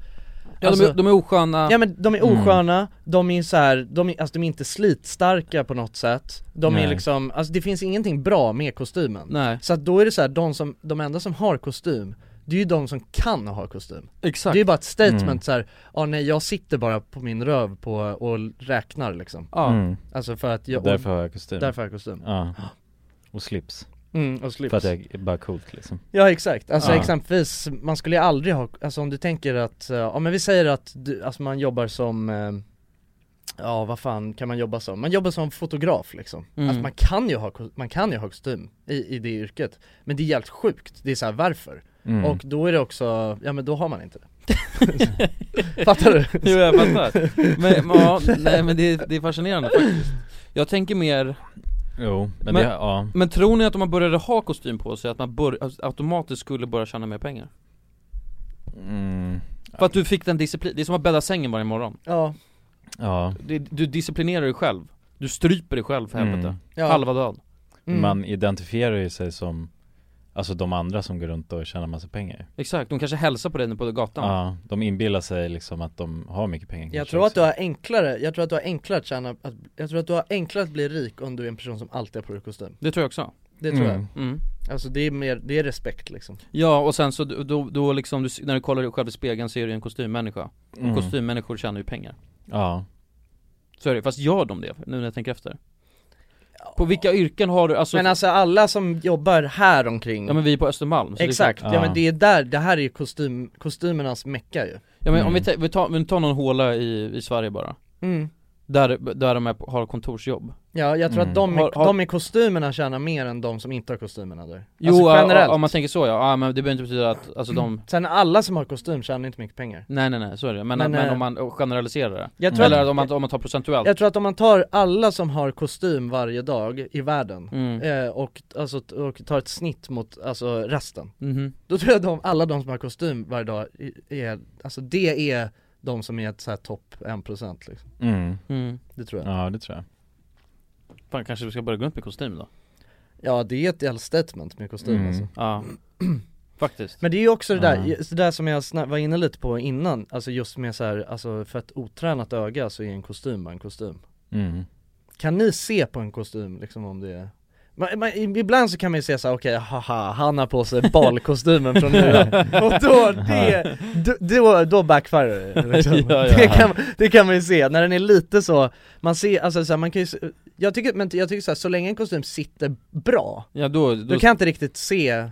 E: Ja, de, är- de är osköna
F: Alltså, Ja men de är
E: Mm.
F: osköna, de är så här, de är, alltså de är inte slitstarka på något sätt De
E: Nej.
F: är liksom, alltså det finns ingenting bra med kostymen
E: Nej.
F: Så att då är det så här, de som, de enda som har kostym det är ju de som kan ha kostym
E: Exakt.
F: Det är ju bara ett statement
E: Mm.
F: så här, ja nej jag sitter bara på min röv på och räknar liksom
E: Ja. Mm.
F: Alltså för att jag och-
J: Därför har jag kostym
F: Därför har jag kostym
J: Ja Och slips
F: Mm, och slips.
J: För att jag är bara coolt liksom
F: Ja exakt, alltså
J: Ja.
F: exempelvis, man skulle ju aldrig ha, alltså om du tänker att, eh, ja men vi säger att du, alltså man jobbar som, eh, ja vad fan kan man jobba som? Man jobbar som fotograf liksom,
E: Mm.
F: alltså man kan ju ha, ko- man kan ju ha kostym i, i det yrket, men det är helt sjukt, det är så här varför?
E: Mm.
F: Och då är det också, ja men då har man inte det Fattar du?
E: jo jag fattar. Men, men ja, nej men det, är- det är fascinerande faktiskt. Jag tänker mer
J: Jo, men det- ja.
E: men tror ni att om man började ha kostym på sig, att man bör, automatiskt skulle börja tjäna mer pengar?
J: mm.
E: För att du fick den disciplin, det är som att bädda sängen varje morgon
F: Ja
J: Ja,
E: det, Du disciplinerar dig själv, du stryper dig själv för
J: Mm.
E: helvete,
F: Ja.
E: halva död
F: Mm.
J: man identifierar ju sig som Alltså de andra som går runt och tjänar massa pengar
E: Exakt, de kanske hälsar på dig nu på gatan
J: Ja, de inbillar sig liksom att de har mycket pengar
F: Jag
J: kanske
F: tror att
J: också.
F: du har enklare, jag tror att du har enklare att tjäna, att, jag tror att du har enklare att bli rik om du är en person som alltid har på dig kostym
E: Det tror jag också
F: Det tror
E: Mm.
F: jag
E: Mm.
F: Alltså det är mer, det är respekt liksom
E: Ja och sen så, då- då, då liksom, du, s- när du kollar dig själv i spegeln så är du en kostymmänniska
J: Mm.
E: Och kostymmänniskor tjänar ju pengar
J: Ja
E: Så är det, fast gör de det? Nu när jag tänker efter På vilka yrken har du, alltså,
F: Men alltså alla som jobbar här omkring
E: ja men vi är på Östermalm så det är
F: Exakt,
E: klart-
F: ja men det är där, det här är ju kostym, kostymernas mecka ju
E: Ja men om
J: Mm.
E: vi, ta, vi, tar, vi tar någon håla i, i Sverige bara
F: Mm.
E: Där, där de är, på- har kontorsjobb
F: Ja, jag tror att de, med,
E: Mm. Har- har-
F: de med kostymerna tjänar mer än de som inte har kostymerna där
E: Jo,
F: alltså generellt
E: ja, om man tänker så ja, ja men det behöver inte betyda att, alltså de
F: Sen alla som har kostym tjänar inte mycket pengar
E: Nej nej nej, så är det, men,
F: Men,
E: men,
F: eh,
E: om man generaliserar det
F: Jag tror
E: Eller
F: att-
E: om man, om man tar procentuellt
F: Jag tror att om man tar alla som har kostym varje dag i världen
E: Mm.
F: eh, och, alltså, t- och tar ett snitt mot alltså, resten
E: Mhm.
F: Då tror jag att de, alla de som har kostym varje dag i- är, alltså det är de som är ett så här topp 1% liksom
J: mm.
F: Det tror jag
J: Ja det tror jag
E: Fan kanske vi ska börja gå runt med kostym då?
F: Ja det är ett jävla statement med kostym
E: Mm.
F: alltså
E: Ja, faktiskt
F: Men det är ju också det där,
E: Ja.
F: det där som jag sna- var inne lite på innan, alltså just med så här, alltså för ett otränat öga så är en kostym bara en kostym
J: Mm.
F: Kan ni se på en kostym liksom om det är man, man, ibland så kan man ju säga såhär, okej haha, han har på sig balkostymen från nu Och då, det, då, då, då backfirar det liksom.
E: Ja, ja.
F: Det, kan, det kan man ju se, när den är lite så, man ser, alltså så här, man kan ju se, jag tycker, men jag tycker så, här, så länge en kostym sitter bra
E: Ja då, då,
F: du kan inte riktigt se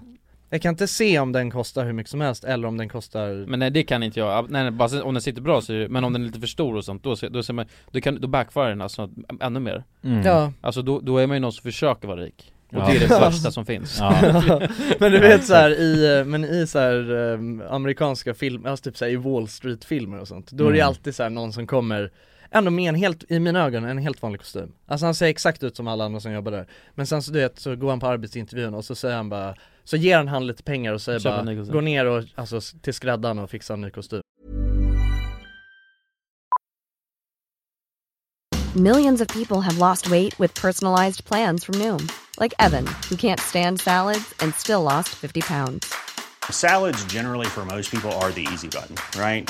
F: Jag kan inte se om den kostar hur mycket som helst eller om den kostar
E: Men nej det kan inte jag, Ab- nej, nej, bara se- om den sitter bra så är det, men om den är lite för stor och sånt, då, ser- då, ser man, då, kan, då backfirar den alltså ä- ännu mer
J: Mm.
F: Ja,
E: Alltså då, då är man ju någon som försöker vara rik, och
J: Ja.
E: det är det värsta som finns
J: Ja.
F: men du vet så här i, eh, men i så här eh, amerikanska filmer, alltså typ så här i Wall Street filmer och sånt Då är det ju
J: Mm.
F: alltid så här någon som kommer Ändå med en helt, i mina ögon, en helt vanlig kostym Alltså han ser exakt ut som alla andra som jobbar där Men sen så du vet, så går han på arbetsintervjun och så säger han bara Så ger han han lite pengar och säger
E: Köp en
F: bara,
E: ny kostym.
F: gå ner och, alltså s- till skräddaren och fixa en ny kostym
A: Millions of people have lost weight with personalized plans from Noom, like Evan, who can't stand salads and still lost 50 pounds.
K: Salads, generally, for most people, are the easy button, right?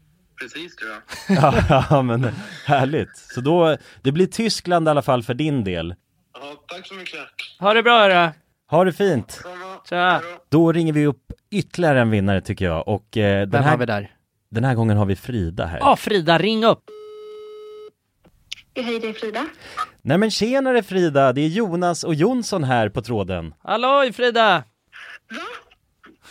L: precis tror jag.
J: ja, men eh, härligt. Så då, det blir Tyskland i alla fall för din del.
L: Ja, tack så mycket.
I: Ha det bra hörru.
J: Ha det fint!
I: Tja.
J: Då ringer vi upp ytterligare en vinnare tycker jag och eh, den
I: Vem
J: här,
I: har vi där?
J: Den här gången har vi Frida här.
I: Ja Frida, ring upp.
C: Hej, det är Frida.
J: Nej men tjenare Frida, det är Jonas och Jonsson här på tråden.
I: Halloj Frida!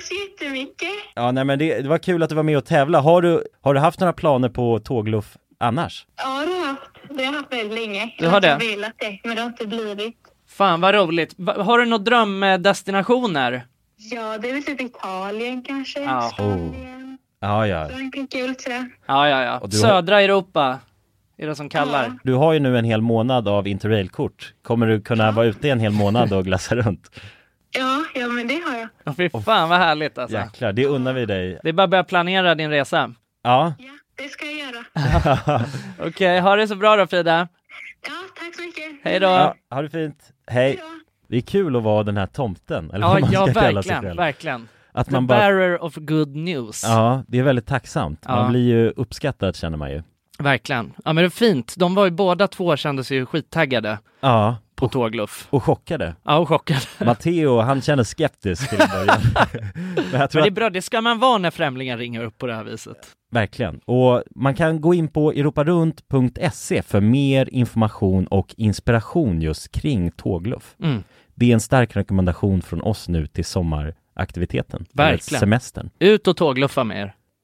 C: så jättemycket.
J: Ja, nej men det, det var kul att du var med och tävla. Har du, har du haft några planer på tågluff annars?
C: Ja, det har jag haft. Det har jag haft väldigt länge.
I: Du har det?
C: Jag har velat det, men det har inte blivit.
I: Fan vad roligt. Va- har du några drömdestinationer?
C: Ja, det är väl typ Italien kanske.
I: Ja.
J: Oh. Ja, ja.
C: Frankrike och lite sådär.
I: Ja, ja, ja.
J: du har-
I: Södra Europa.
M: är det som kallar.
J: Du har ju nu en hel månad av interrailkort. Kommer du kunna vara ute en hel månad och glassa runt?
C: Ja, ja men det har jag.
M: Ja, fy fan vad härligt alltså.
J: Jäklar, det unnar vi dig.
M: Det är bara att börja planera din resa.
J: Ja.
C: Det ska jag göra.
M: Okej, ha det så bra då Frida.
C: Ja, tack så mycket.
M: Hej då.
J: Ja, ha det fint. Hej. Det är kul att vara den här tomten, eller
M: Ja,
J: vad man
M: ja
J: ska kalla sig
M: verkligen,
J: själv.
M: verkligen.
J: Att
M: The
J: man bara-
M: bearer of good news.
J: Ja, det är väldigt tacksamt.
M: Ja.
J: Man blir ju uppskattad känner man ju.
M: Verkligen. Ja men det är fint. De var ju båda två kändes ju skittaggade.
J: Ja.
M: På tågluff.
J: Och chockade.
M: Ja, och chockade.
J: Matteo, han känner skeptisk till en början. Men jag tror
M: men det är
J: att,
M: bra, det ska man vara när främlingar ringer upp på det här viset.
J: verkligen. Och man kan gå in på europarunt.se E för mer information och inspiration just kring tågluff.
M: Mm.
J: Det är en stark rekommendation från oss nu till sommaraktiviteten. eller
M: Verkligen.
J: Semestern.
M: Ut och tågluffa med er.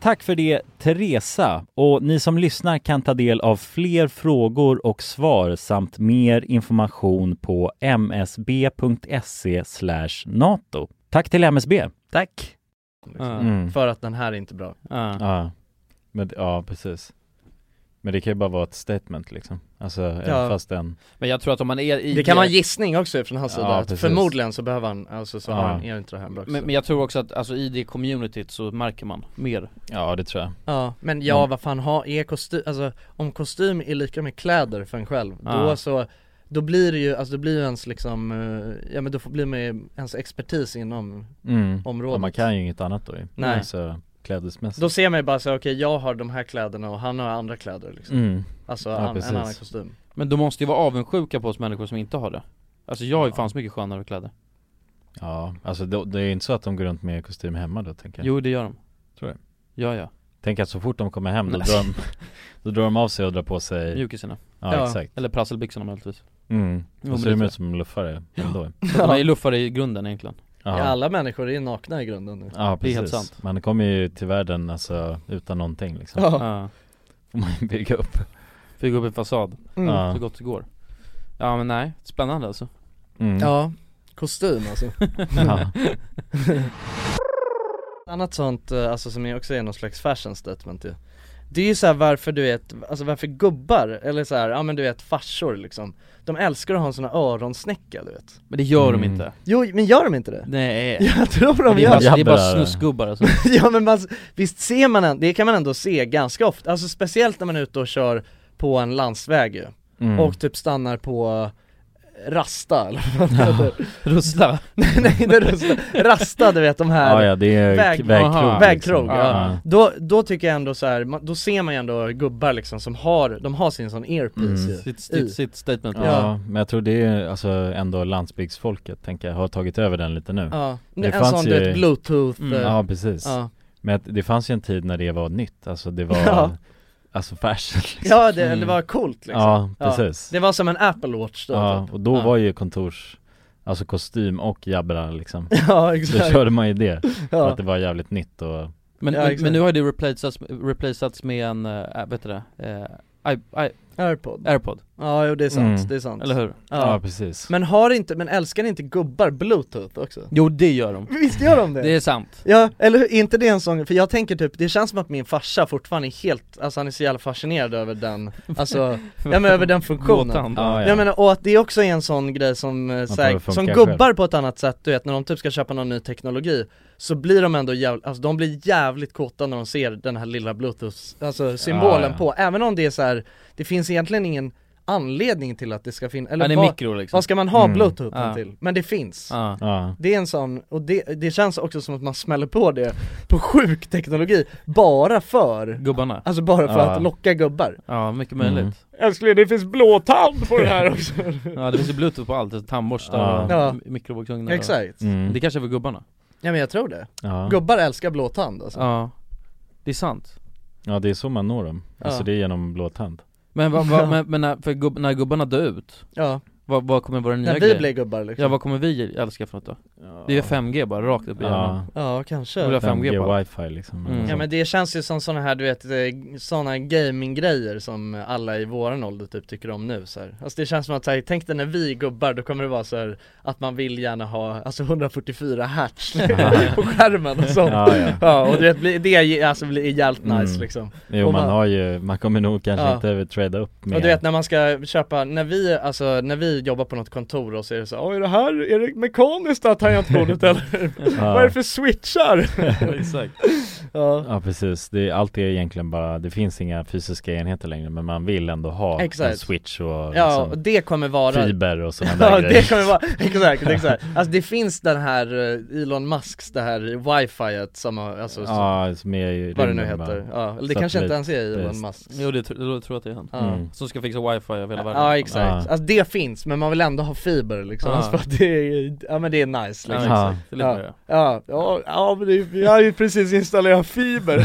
J: Tack för det Teresa och ni som lyssnar kan ta del av fler frågor och svar samt mer information på msb.se e nato. Tack till MSB.
M: Tack.
J: Mm.
F: För att den här är inte bra.
B: Ja. Men, ja, precis. Men det kan ju bara vara ett statement liksom. Alltså, även fast den...
E: Men jag tror att om man är i...
F: Det kan vara en gissning också från hans
B: Ja,
F: sida, att
B: precis.
F: förmodligen så behöver han, alltså så har
B: Ja.
F: han, är inte det här en bra
E: Men, men jag tror också att alltså, i det communityt så märker man mer
B: Ja, det tror jag.
F: Ja, men ja vad fan ha, är kostym, alltså om kostym är lika med kläder för en själv,
B: Ja.
F: då så då blir det ju, alltså det blir ju ens liksom, eh, ja men då får- blir man ju ens expertis inom
B: Mm. Ja,
F: området
B: man kan ju inget annat då ju.
F: Nej.
B: Alltså, klädesmässigt.
F: Då ser man ju bara så här, okej jag har de här kläderna och han har andra kläder liksom
B: Mm.
F: Alltså
B: Ja,
F: an,
B: precis.
F: en annan kostym
E: Men de måste ju vara avundsjuka på oss människor som inte har det Alltså jag har ju fan så mycket skönare kläder
B: Ja, alltså det, det är ju inte så att de går runt med kostym hemma då tänker jag
E: Jo det gör de
B: Tror jag
E: Ja ja
B: Tänk att så fort de kommer hem då
E: Nej.
B: drar de, då drar de av sig och drar på sig
E: Mjukisarna
B: Ja, exakt
E: Eller prasselbyxorna möjligtvis
B: Mm,
E: Jo,
B: då
E: men
B: ser de
E: det
B: ut som luffare ändå
E: Så de är ju luffare i grunden egentligen
F: Ja. Alla människor är nakna i grunden nu
B: Ja
E: Det är
B: precis,
E: helt sant.
B: man kommer ju till världen alltså utan någonting liksom
F: Ja.
B: Får man ju bygga upp
E: Bygga upp en fasad
F: Mm.
B: Ja.
E: Så gott det går Ja men nej, spännande alltså
B: Mm.
F: Ja, kostym alltså
E: Ja.
F: Annat sånt, eh, alltså som är också är någon slags fashion statement ju Det är ju såhär varför du vet, alltså varför gubbar, eller så här, ja men du vet farsor liksom De älskar att ha en sån här öronsnäcka du vet
E: Men det gör de inte
F: Jo men gör de inte det?
E: Nej
F: Jag tror Mm. de
E: det är
F: gör
E: bara, det är bara
F: Jabbar.
E: snusgubbar alltså.
F: ja men man, visst ser man en, det kan man ändå se ganska ofta, alltså speciellt när man är ute och kör på en landsväg ju
E: Mm.
F: Och typ stannar på eh, Rasta eller vad det heter.
E: Rusta?
F: Nej, nej inte rusta, Rasta du vet de här
B: Ja, ja, det är k- vägkrog, liksom.
F: vägkrog ja.
B: Ja.
F: Då, då tycker jag ändå så här, man- då ser man ju ändå gubbar liksom som har, de har sin sån earpiece
B: Mm.
F: ju
E: Sitt- sitt-
F: i.
E: sitt statement.
B: Ja.
F: Ja.
B: men jag tror det är alltså ändå landsbygdsfolket tänker jag, har tagit över den lite nu
F: Ja.
B: Det
F: En sån, du vet, bluetooth, eh,
B: Mm, Ja precis
F: ja.
B: Men att det fanns ju en tid när det var nytt, alltså det var
F: Ja.
B: Alltså fashion liksom.
F: Ja det, det var coolt liksom
B: Ja, precis
F: Det var som en Apple Watch då
B: Ja,
F: typ.
B: och då var ju kontors, alltså kostym och jabbra liksom
F: Ja, exakt.
B: Då körde man ju det,
F: Ja.
B: för att det var jävligt nytt och
E: Men,
F: Ja,
E: men,
F: exakt.
E: men nu har det replacats, replacats med en, äh, vet du det? Eh, I, I,
F: Airpod
E: Airpod
F: Ja, jo det är sant,
E: Mm.
F: det är sant
E: Eller hur? Ja, precis.
F: Men har inte, men älskar inte gubbar bluetooth också?
E: Jo det gör de
F: Visst gör de det?
E: Det är sant
F: Ja, eller hur? Är inte det en sån, för jag tänker typ, det känns som att min farsa fortfarande är helt, alltså han är så jävla fascinerad över den, alltså, ja men över den funktionen
E: Gåtan. Ja, ja.
F: Jag menar, och att det också är en sån grej som, eh, så här,
E: behöver funka
F: som
E: själv.
F: gubbar på ett annat sätt, du vet när de typ ska köpa någon ny teknologi Så blir de ändå jävligt, alltså de blir jävligt kåta när de ser den här lilla bluetooth, alltså symbolen
E: Ja, ja.
F: på, även om det är så här, det finns egentligen ingen anledning till att det ska finnas,
E: Ja, det
F: eller
E: är
F: vad,
E: mikro liksom.
F: vad ska man ha
E: Mm.
F: bluetoothen
E: Ja.
F: till? Men det finns
E: Ja. Ja.
F: det är en sån, och det, det känns också som att man smäller på det på sjuk teknologi, bara för
E: Gubbarna?
F: Alltså bara för
E: Ja.
F: att locka gubbar
E: Ja, mycket möjligt
F: Mm. Älskling det finns blåtand på det här också
E: Ja det finns ju bluetooth på allt, tandborstar
F: Ja.
E: och
F: Mm. Ja.
E: m- mikrovågsugnar och-
F: Exakt.
B: Mm.
E: Det kanske är för gubbarna
F: Ja men jag tror det,
B: Ja.
F: gubbar älskar blåtand alltså
E: Ja, det är sant
B: Ja det är så man når dem, alltså
E: Ja.
B: det är genom blåtand
E: Men, vad, vad,
B: Ja.
E: men, men när, för gubb, när gubbarna dör ut,
F: Ja.
E: vad, vad kommer våra nya
F: vi
E: grejer?
F: blir gubbar, liksom.
E: Ja vad kommer vi älska för något då? Det är ju 5G bara, rakt upp i
B: Ja.
E: hjärnan
F: Ja, kanske.
E: Jag vill ha 5G,
B: 5G
E: på allt.
B: wifi, liksom, eller
E: mm.
F: Ja men det känns ju som såna här du vet, eh, såna gaminggrejer som alla i våran ålder typ tycker om nu så här. Alltså det känns som att så här, tänk dig när vi är gubbar då kommer det vara så här att man vill gärna ha, alltså 144 hertz på skärmen och sånt
B: Ja, ja.
F: och du vet, blir- det är, alltså, blir jävligt nice
B: Mm.
F: liksom
B: Jo
F: Och
B: man har ju, man kommer nog kanske
F: Ja.
B: inte trada upp med
F: och du vet när man ska köpa, när vi, alltså när vi jobbar på något kontor och så är det så här, "Åh, är det här, är det mekaniskt det här tangentbordet eller?
B: Ja.
F: Vad är det för switchar?
E: Exakt
F: Ja.
B: Ja precis, det, allt är egentligen bara, det finns inga fysiska enheter längre men man vill ändå ha en
F: Exakt.
B: switch och
F: Ja,
B: liksom
F: och det kommer vara
B: fiber och sådana
F: Ja
B: där grejer
F: det kommer vara, exakt, exakt. Alltså det finns den här eh, Elon Musks, det här wifiet som har, alltså
B: Ja, som är i
F: vad det nu
B: rymden,
F: heter,
B: bara.
F: ja, eller det kanske inte ens är Elon
B: Satellit-based.
F: Musk
E: Jo det tr- jag tror att det är han,
F: Ja.
E: mm. som ska fixa wifi över hela världen
F: Ja exakt, alltså det finns men man vill ändå ha fiber liksom,
E: Ja.
F: alltså, för att det är, ja men det är nice liksom
E: Ja, exakt. Det är lite
F: ja.
E: bra.
F: Ja. Ja, ja, men det, vi har ju precis installerat fiber,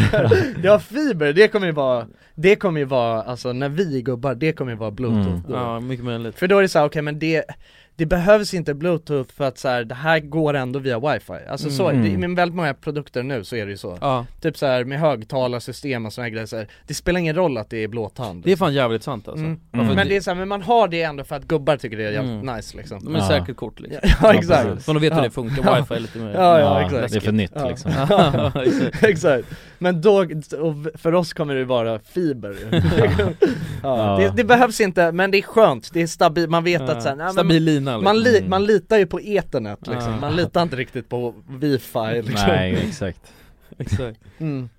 F: ja fiber, det kommer ju vara, det kommer ju vara, alltså när vi är gubbar, det kommer ju vara bluetooth
E: Mm.
F: då.
E: Ja, mycket möjligt
F: För då är det så här, okej men det, det behövs inte bluetooth för att så här, det här går ändå via wifi Alltså så,
E: Mm.
F: det, med väldigt många produkter nu så är det ju så
E: Ja.
F: Typ så här med högtalarsystem och såna här grejer så här, det spelar ingen roll att det är blåtand
E: Det är fan jävligt sant alltså
F: Mm.
E: Varför-
F: Men det är så här, men man har det ändå för att gubbar tycker det är jävligt
E: Mm.
F: nice liksom
E: De är Ja. säkert kort, liksom.
F: Ja,
E: Ja,
F: exakt
E: precis. Men de vet hur
F: Ja.
E: det funkar. Wifi är lite mer-
F: Ja, ja,
E: Ja,
F: exakt
E: det är för nytt,
F: Ja.
E: liksom.
F: Ja,
E: Exakt.
F: Exakt Men då, och för oss kommer det vara fiber ja.
E: Ja.
F: Det, det behövs inte, men det är skönt, det är stabilt, man vet
E: Ja.
F: att så här, nej, men-
E: Stabil lina, liksom.
F: man, li,
E: Mm.
F: man litar ju på eternet liksom,
E: Ja.
F: man litar inte riktigt på wifi liksom
B: Nej exakt
E: Exakt
F: mm.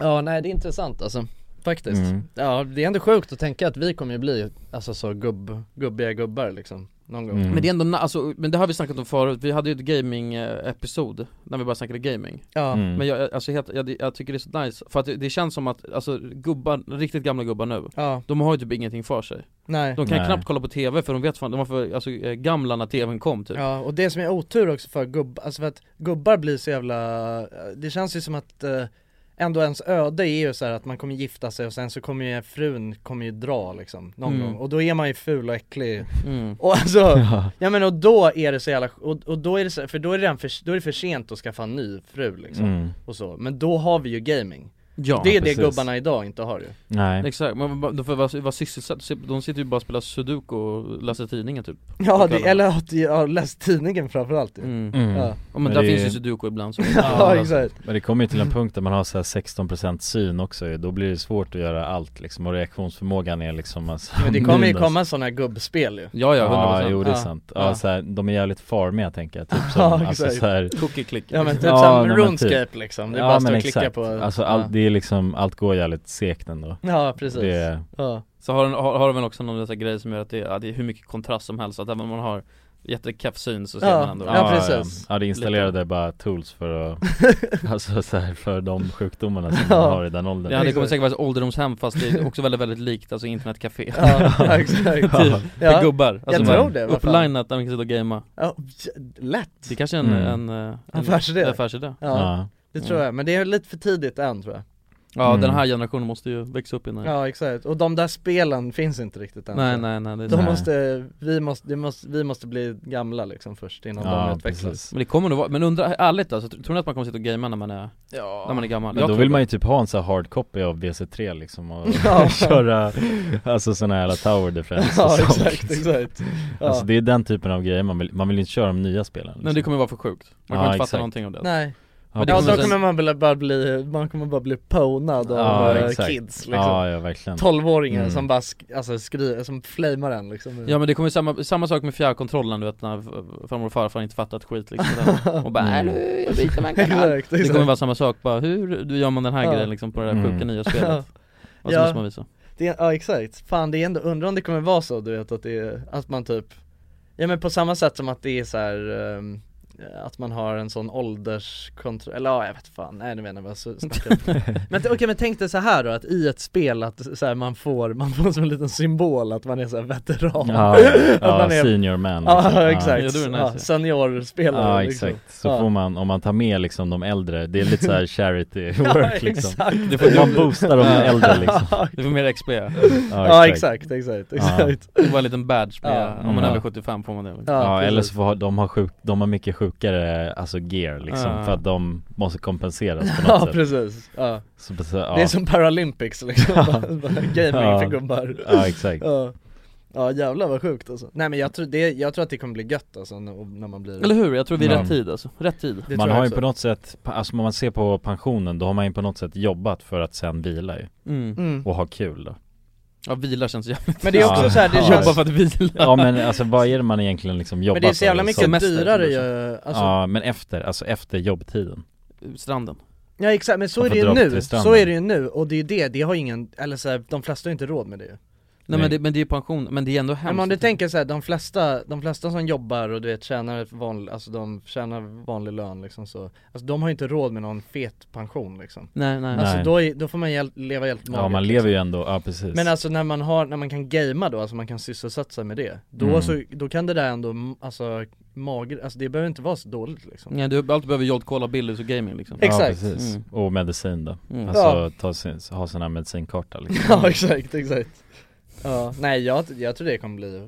F: Ja nej det är intressant alltså, faktiskt
B: Mm.
F: Ja det är ändå sjukt att tänka att vi kommer ju bli, alltså så gubb, gubbiga gubbar liksom, någon gång
E: Men det är ändå, na- alltså, men det har vi snackat om förut, vi hade ju ett gaming-episod när vi bara snackade gaming
F: Ja. Mm.
E: Men jag- jag, alltså, helt, jag, jag tycker det är så nice, för att det, det känns som att, alltså gubbar, riktigt gamla gubbar nu,
F: Ja.
E: de har ju typ ingenting för sig
F: Nej.
E: De kan
F: Nej.
E: knappt kolla på TV för de vet fan, de var för, alltså, eh, gamla när TVn kom typ
F: Ja, och det som är otur också för gubbar, alltså för att gubbar blir så jävla, det känns ju som att eh, ändå ens öde är ju så här att man kommer gifta sig och sen så kommer ju frun, kommer ju dra liksom någon
E: Mm.
F: gång och då är man ju ful och äcklig
E: Mm.
F: och alltså,
E: Ja.
F: ja. men och då är det så jävla, och, och då är det så, för då är det, redan för, då är det för sent att skaffa en ny fru liksom
E: Mm.
F: och så, men då har vi ju gaming
E: Ja,
F: det är
E: precis.
F: det gubbarna idag inte har ju
B: Nej.
F: Liksom.
E: Exakt, men vad- de får vara, vara sysselsatta, de sitter ju bara och spelar sudoku och läser tidningen typ
F: Ja,
E: på
F: det,
E: kvällarna.
F: eller att jag har läst tidningen framförallt ju
B: Mm.
F: ja.
E: Ja, men där
B: det-
E: finns ju sudoku ibland som-
F: Ja, exakt.
B: Men det kommer ju till en punkt där man har så här 16% syn också ju. Då blir det svårt att göra allt liksom och reaktionsförmågan är liksom alltså,
F: Men det kommer ju
B: minus.
F: komma sådana här gubbspel ju
B: Ja, jo det är sant. Ja, Så här, de är jävligt farmiga tänker jag, typ som,
F: Ja,
B: alltså,
F: exakt.
B: så här,
F: Cookie click. Ja, men typ som
B: nej, men
F: RuneScape, liksom. Det är bara att stå
B: men
F: och klicka
B: exakt.
F: på-
B: Alltså
F: ja.
B: allt, det är liksom, allt går jävligt segt ändå
F: Ja, precis.
B: det,
F: Ja.
E: Så har, den, har, har de väl också någon sån här grej som gör att det, ja, det är hur mycket kontrast som helst, att även om man har jättekeff syn så ser man ändå
B: Ja, det installerade bara tools för att, alltså så här, för de sjukdomarna som
E: Ja.
B: man har i den åldern
E: Ja det kommer säkert vara ett ålderdomshem fast det är också väldigt väldigt likt, alltså internetcafé
F: Ja, exakt.
E: typ,
F: Ja.
E: med gubbar, alltså
F: Jag
E: bara
F: tror det, vad fan.
E: Upplinat där man kan sitta och gamea
F: Ja, j- lätt!
E: Det kanske är en,
F: Mm.
E: en, eh, en
F: Affärsidé
E: affärsidé.
F: ja. det tror jag, men det är lite för tidigt än tror jag
E: Ja
B: Mm.
E: den här generationen måste ju växa upp innan
F: Ja exakt, och de där spelen finns inte riktigt än
E: Nej, nej, nej, det är
F: de
E: sant.
F: måste, vi måste, det måste, vi måste bli gamla liksom först innan de utvecklas
E: Men det kommer nog vara, men undra, ärligt alltså, tr- tror ni att man kommer sitta och gamea när man är, när man är gammal?
B: Men
E: Jag
B: då
E: tror
B: vill
E: det.
B: man ju typ ha en sån här hard copy av BC3 liksom och
E: Ja.
B: köra Alltså såna här jävla tower defense
E: Ja,
B: och sånt,
E: exakt, exakt. Ja.
B: Alltså det är den typen av grejer man vill, man vill ju inte köra de nya spelen liksom.
E: Nej det kommer vara för sjukt, man kommer
B: Ja,
E: inte fatta
B: exakt.
E: någonting av det alltså.
F: Nej
B: Ja,
F: Ja,
B: det kommer
F: då
B: sen-
F: kommer man väl bara bli, man kommer bara bli ponad av
B: Ja,
F: eh,
B: exakt.
F: kids liksom
B: Ja, ja, verkligen.
F: 12-åringar
E: Mm.
F: som bara sk- alltså, skriver, som flamar en liksom
E: Ja men det kommer ju samma, samma sak med fjärrkontrollen du vet när f- farmor och farfar inte fattat skit liksom och bara
F: Mm.
E: "Äh, nu, jag byter man
F: Exakt,
E: kanal Det
F: exakt.
E: kommer vara samma sak bara, hur du gör man den här
F: Ja.
E: grejen liksom på det här sjuka nya spelet? Och så
F: Ja.
E: måste man visa
F: Det är, ja exakt, fan det är ändå, undrar om det kommer vara så du vet att det är, att man typ Ja men på samma sätt som att det är så här ehm, att man har en sån ålderskontroll, eller ja jag vet fan, nej nu menar jag bara så snackar jag. Men t- okej men tänk dig så här då att i ett spel att så här, man får, man får som en liten symbol att man är så här veteran
B: Ja,
F: Att
B: ja,
F: man är-
B: senior man,
F: Ja
B: liksom. Ja.
F: exakt,
B: Ja,
F: ja,
B: då är det nice, ja.
F: seniorspelare
B: Ja
F: liksom.
B: exakt, så
F: Ja.
B: får man, om man tar med liksom de äldre, det är lite så här charity
F: Ja,
B: work liksom
F: exakt.
B: det får Man boostar de äldre liksom
E: Du får mer XP Ja,
F: Ja, exakt, exakt, exakt.
E: Det var en liten badge med,
B: Ja.
E: om man är
B: Ja.
E: över 75 får man det liksom.
B: Ja, eller så får de har sjuk, de har mycket sjukare, alltså gear liksom
F: Ja.
B: för att de måste kompenseras på något sätt
F: Ah. Ja precis, ja.
B: Så- så- ja.
F: Det är som Paralympics liksom,
B: Ja.
F: gaming
B: Ja.
F: för gubbar
B: Ja exakt
F: ja. ja jävlar vad sjukt alltså. Nej men jag tror, det, jag tror att det kommer bli gött alltså när, när man blir
E: Eller hur? Jag tror vi är
B: Ja.
E: rätt tid alltså, rätt tid
F: Det
B: Man
F: tror jag
B: har ju
F: också.
B: på något sätt, alltså om man ser på pensionen, då har man ju på något sätt jobbat för att sen vila ju
E: Mm. Mm.
B: Och ha kul då
E: Ja vila känns jävligt
F: Men det är också så här, det känns-
E: Jobba för att vila
B: Ja men alltså vad är det man egentligen liksom jobbar
F: Men det är så jävla
B: för?
F: mycket
B: Semester,
F: dyrare
B: liksom.
F: ju, alltså.
B: Ja men efter, alltså efter jobbtiden
E: Stranden
F: Ja exakt, men så
B: Man
F: är det
B: får dra
F: ju
B: upp
F: nu,
B: till stranden.
F: så är det ju nu och det är ju det, det har ju ingen, eller så här, de flesta har ju inte råd med det ju
E: Nej men det, men det är ju pension, men det är ändå hemskt
F: Men om du tänker så här, de flesta, de flesta som jobbar och du vet tjänar ett vanligt, alltså de tjänar vanlig lön liksom så Alltså de har ju inte råd med någon fet pension liksom
E: Nej, nej.
F: Alltså
B: Nej.
F: då, är, då får man hjäl- leva helt
B: Ja man lever ju ändå, ja precis
F: liksom. Men alltså när man har, när man kan gamea då, alltså man kan sysselsätta sig med det Då
B: Mm.
F: så, då kan det där ändå, m- alltså mager, alltså det behöver inte vara så dåligt liksom
E: Nej du allt behöver Jod Cola, Billys och gaming liksom
B: Ja, precis.
E: Mm.
B: Och medicin då.
E: Mm.
B: Alltså
F: Ja.
B: ta sin, ha sina medicinkarta liksom.
F: Ja exakt, exakt Ja, nej jag, jag tror det kommer bli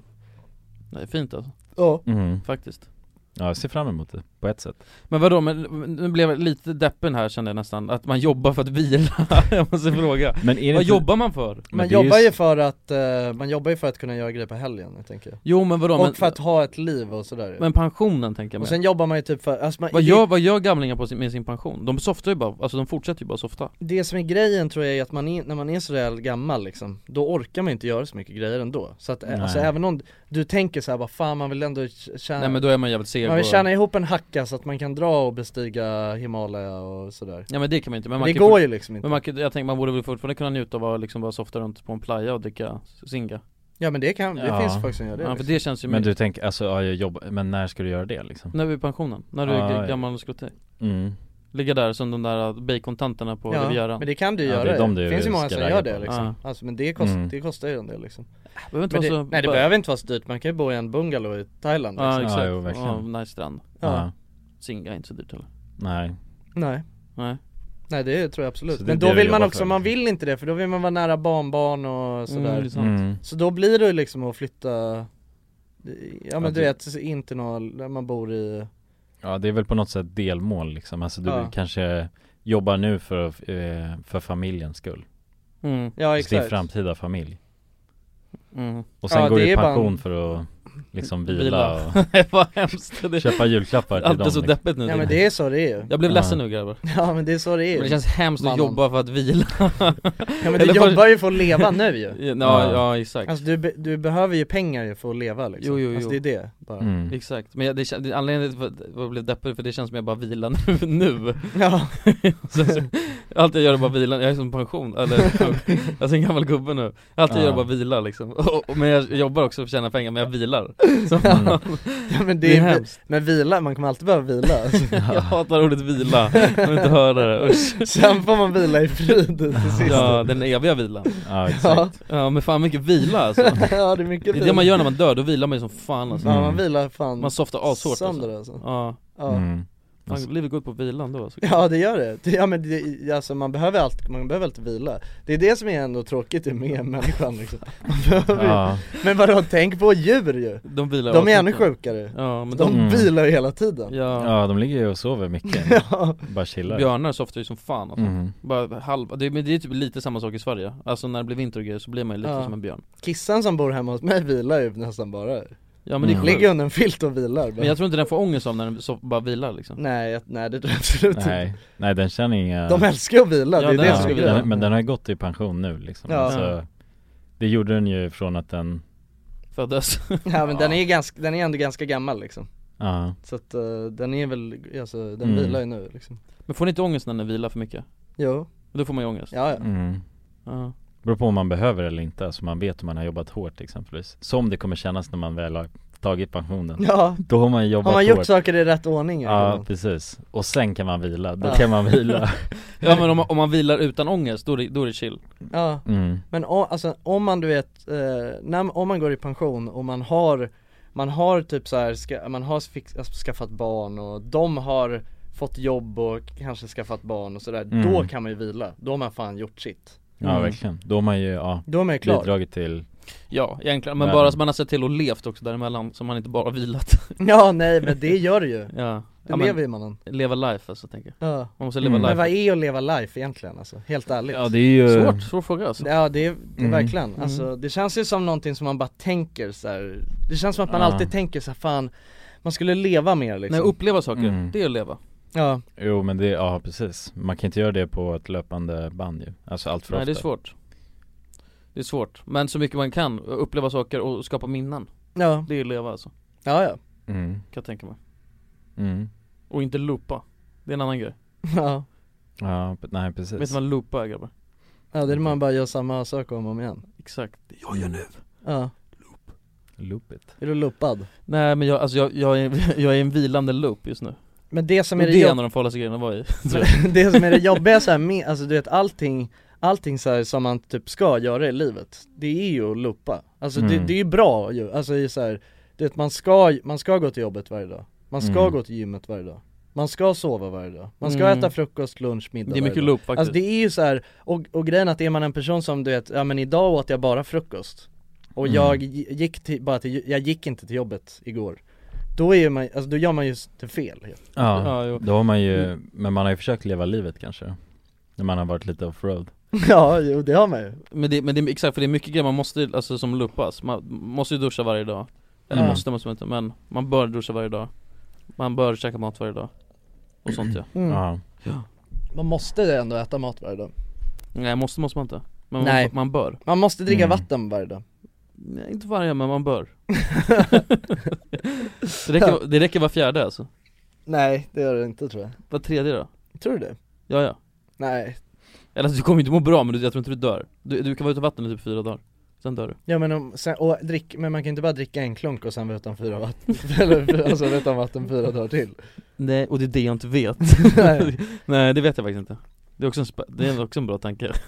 E: Nej fint alltså
F: Ja
B: Mm.
E: Faktiskt
B: Ja, jag ser fram emot det på ett sätt.
E: Men vadå, men nu blev jag lite deppen här kände jag nästan, att man jobbar för att vila, jag måste fråga
B: Men är det
E: Vad
B: inte-
E: jobbar man för?
F: Man jobbar ju för att, eh, man jobbar ju för att kunna göra grejer på helgen jag tänker jag
E: Jo, men vadå,
F: Och
E: men-
F: för att ha ett liv och sådär
E: Men pensionen tänker jag
F: Och
E: med.
F: sen jobbar man ju typ för, alltså man,
E: Vad
F: det-
E: gör, vad gör gamlingar på sin, med sin pension? De softar ju bara, alltså de fortsätter ju bara softa
F: Det som är grejen tror jag är att man är, när man är sådär gammal liksom, då orkar man inte göra så mycket grejer ändå Så att
E: Nej.
F: eh, alltså, även om du tänker såhär bara fan man vill ändå tj- tjäna
E: Nej men då är man jävligt seg
F: Man vill
E: och-
F: tjäna ihop en hacka så att man kan dra och bestiga Himalaya och sådär
E: Ja men det kan man inte, men man
F: Det
E: kan
F: går
E: fort-
F: ju liksom inte
E: Men man, kan- jag tänker man borde väl fortfarande kunna njuta av att liksom bara softa runt på en playa och dricka singa
F: Ja men det kan, det
E: Ja.
F: finns folk som gör det
E: Ja, för
F: liksom.
E: det känns ju
B: Men du tänker, alltså ja, jag jobbar, men när ska du göra det liksom?
E: När vi är i pensionen, när du
B: Ja,
E: är
B: ja.
E: g- gammal och skruttig
B: Mm.
E: Ligga där som de där bacontanterna på
F: Ja,
E: Rivieran
F: men det kan du ju
E: Ja,
F: göra
E: det är de
F: ju.
E: du
F: finns ju många
E: ska
F: som
E: ragga
F: gör
E: på,
F: det liksom
E: Ja.
F: alltså, men det, kost,
E: Mm.
F: det kostar ju en del liksom
E: behöver inte
F: Men
E: vara
F: det,
E: så-
F: Nej det
E: bara-
F: behöver inte vara så dyrt, man kan ju bo i en bungalow i Thailand
E: Ja
F: liksom.
E: exakt, Ja, nice strand
F: Ja.
B: Ja.
E: Singa är inte så dyrt heller
B: Nej.
F: Nej
E: Nej
F: Nej det tror jag absolut,
E: Så det är
F: men
E: det
F: då
E: du
F: vill man
E: jobbar
F: också,
E: för.
F: man vill inte det för då vill man vara nära barnbarn och
E: Mm,
F: sådär
E: det är sant. Mm.
F: Så då blir det ju liksom att flytta Ja men
B: Ja,
F: du
B: det-
F: vet, så inte någon, där man bor i
B: Ja, det är väl på något sätt delmål liksom. Alltså du
F: Ja.
B: kanske jobbar nu för, eh, för familjens skull
F: Mm. Ja,
B: För
F: exakt.
B: Sin framtida familj
F: Mm.
B: Och sen
F: Ja,
B: går
F: det
B: du i
F: är bara
B: pension
F: en-
B: för att liksom vila,
E: Vila.
B: och
E: Vad hemskt det är.
B: köpa julklappar till
E: Allt är
B: dem
E: så
B: liksom.
E: deppigt nu.
F: Ja men det är så det är ju
E: Jag blev ledsen nu grabbar
F: Ja men det är så det är ju
E: Men det känns hemskt
F: Mannen.
E: att jobba för att vila
F: Ja men du jobbar ju för att leva nu ju
E: Ja, ja, ja, exakt
F: Alltså du, be- du behöver ju pengar ju för att leva liksom
E: Jo, jo, jo. Mm.
F: Alltså det är det bara
B: Mm.
E: Exakt, men jag, det, kän- det- anledningen till att jag blev deppig för det känns som jag bara vilar nu, nu.
F: Ja.
E: så, så, Allt jag gör är bara vila, jag är som pension, eller jag är en gammal gubbe nu Allt jag
F: Ja.
E: gör är bara vila liksom, och, och, men jag jobbar också för att tjäna pengar, men jag vilar så,
B: Mm.
F: Ja men det, är,
E: hemskt
F: Men vila, man kommer alltid behöva vila alltså.
E: Jag hatar ordet vila, jag vill inte höra det, usch
F: Sen får man vila i frid till sist
E: Ja, den eviga vilan
F: Ja, exakt.
E: Ja men fan mycket vila alltså
F: Ja, det är mycket
E: Det är det
F: vila.
E: man gör när man dör, då vilar man ju som fan alltså
F: Ja, man vilar fan
E: Man softar ashårt
F: sönder, alltså.
E: Ja,
F: Ja. Mm.
E: Fan, livet går ut på vilan då alltså.
F: Ja det gör det, Det- ja men det, alltså man behöver alltid, man behöver alltid vila Det är det som är ändå tråkigt med människan liksom Man behöver ju-
E: Ja.
F: Men vadå, tänk på djur ju!
E: De vilar
F: De är
E: alltid.
F: ännu sjukare,
E: Ja, men
F: de,
B: Mm.
E: de-
F: vilar ju hela tiden
E: Ja.
B: Ja de ligger ju och sover mycket, bara chillar
E: Björnar softar ju som fan alltså.
B: Mhm.
E: Bara halva, det, men det är typ lite samma sak i Sverige Alltså när det blir vinter och grejer så blir man ju lite
F: Ja.
E: som en björn
F: Kissan som bor hemma hos mig vilar ju nästan bara
E: Ja men det är sjukt.
F: Ligger under en filt och vilar bara.
E: Men jag tror inte den får ångest av när den soff- bara vilar liksom
F: Nej, jag- nej det tror jag absolut inte
B: Nej, nej den känner inga
F: Typ. De älskar ju att vila, det är det som är
B: den,
F: grejen
B: Men den har ju gått i pension nu liksom
F: Ja.
B: alltså, Det gjorde den ju från att den,
E: Föddes
F: Ja men den är ju ganska, den är ändå ganska gammal liksom
B: ja
F: Så att eh, den är väl, alltså den
B: Mm.
F: vilar ju nu liksom
E: Men får ni inte ångest när ni vilar för mycket?
F: Jo
E: Då får man ju ångest
F: Ja, ja.
B: mm.
E: Ja.
B: Beror på om man behöver eller inte, alltså man vet om man har jobbat hårt exempelvis Som det kommer kännas när man väl har tagit pensionen
F: Ja.
B: Då har man ju jobbat
F: Har man gjort
B: hårt
F: saker i rätt ordning ju.
B: Ja precis, och sen kan man vila, då
F: Ja.
B: kan man vila
E: Ja men om man, om man vilar utan ångest, då är det, då är det chill
F: Ja,
B: Mm.
F: men o- alltså om man du vet, eh, när, om man går i pension och man har, man har typ så här, ska, man har fix, alltså, skaffat barn och de har fått jobb och kanske skaffat barn och sådär,
B: Mm.
F: då kan man ju vila, då har man fan gjort sitt
B: Ja verkligen, då har man ju, ja,
F: Då är man ju klar.
B: bidragit till
E: Ja egentligen, men
B: världen.
E: bara så man har sett till och levt också däremellan, så man inte bara har vilat
F: Ja nej men det gör det ju,
E: Ja
F: det
E: Ja, men-
F: lever ju mannen
E: Leva life alltså tänker jag
F: Ja.
E: Man måste leva
F: Men
E: life
F: vad är att leva life egentligen alltså? Helt ärligt
B: Ja, det är ju- Svårt,
E: svår fråga alltså
F: Ja det är, det är
E: Mm.
F: verkligen,
E: Mm.
F: alltså det känns ju som någonting som man bara tänker så här. Det känns som att man
E: Ja.
F: alltid tänker så här, fan man skulle leva mer liksom
E: Nej uppleva saker,
B: Mm.
E: det är att leva
F: Ja
B: Jo men det, ja precis. Man kan inte göra det på ett löpande band ju. Alltså allt för
E: Nej
B: ofta.
E: det är svårt Det är svårt, men så mycket man kan, uppleva saker och skapa minnen
F: Ja.
E: Det är att leva alltså
F: Ja ja
B: Mm.
E: Kan jag tänka mig
B: Mm.
E: Och inte loopa, det är en annan grej
F: Ja,
B: Ja, p- nej precis.
E: Vet du vad en loopa är grabbar?
F: ja det är när man bara gör samma sak om och om igen
E: Exakt, det jag gör nu
F: Ja
B: Loop it.
F: Är du loopad?
E: Nej men jag, alltså jag, jag, är, jag är i en vilande loop just nu
F: Men det som är
E: Och
F: det
E: det är
F: jobb-
E: en av de farligaste grejerna att vara i tror
F: Men
E: jag.
F: det som är det jobbiga så här med, alltså du vet allting, allting så här som man typ ska göra i livet, det är ju att loopa. Alltså det,
E: Mm.
F: det är ju bra ju, alltså det är så här, du vet man ska, man ska gå till jobbet varje dag, man ska
E: Mm.
F: gå till gymmet varje dag man ska sova varje dag, man ska
E: Mm.
F: äta frukost, lunch, middag
E: Det är
F: varje
E: mycket
F: dag.
E: loop faktiskt.
F: Alltså det är ju så här, och, och grejen att är man en person som du vet, ja men idag åt jag bara frukost Och
E: Mm.
F: jag gi- gick till, bara till, jag gick inte till jobbet igår Då är man, alltså då gör man ju s- det fel helt.
B: Ja,
E: Ja, jo. Mm.
B: då har man ju, men man har ju försökt leva livet kanske. När man har varit lite offroad.
F: Ja, jo det har man ju
E: Men det, men det, är- exakt för det är mycket grejer man måste, alltså som loopas, man måste ju duscha varje dag Eller
F: Ja.
E: måste, måste man inte, men man bör duscha varje dag Man bör käka mat varje dag Och sånt ja
F: Mm.
B: Ja.
F: Man måste ändå äta mat varje dag
E: Nej måste, måste man inte Men
F: Nej.
E: Man, man bör
F: Man måste dricka
E: Mm.
F: vatten varje dag
E: Nej, inte varje men man bör det, räcker, det räcker var fjärde alltså,
F: Nej det gör det inte tror jag
E: var tredje då?
F: Tror du det?
E: Ja ja
F: Nej
E: Eller alltså, du kommer ju inte må bra men du, jag tror inte du dör Du, du kan vara utan vatten i typ fyra dagar, sen dör du
F: Ja men om, sen, och drick, men man kan inte bara dricka en klunk och sen vara utan fyra vatten, eller alltså vara utan vatten fyra dagar till
E: Nej, och det är det jag inte vet
F: Nej.
E: Nej det vet jag faktiskt inte Det är också en, sp- det är också en bra tanke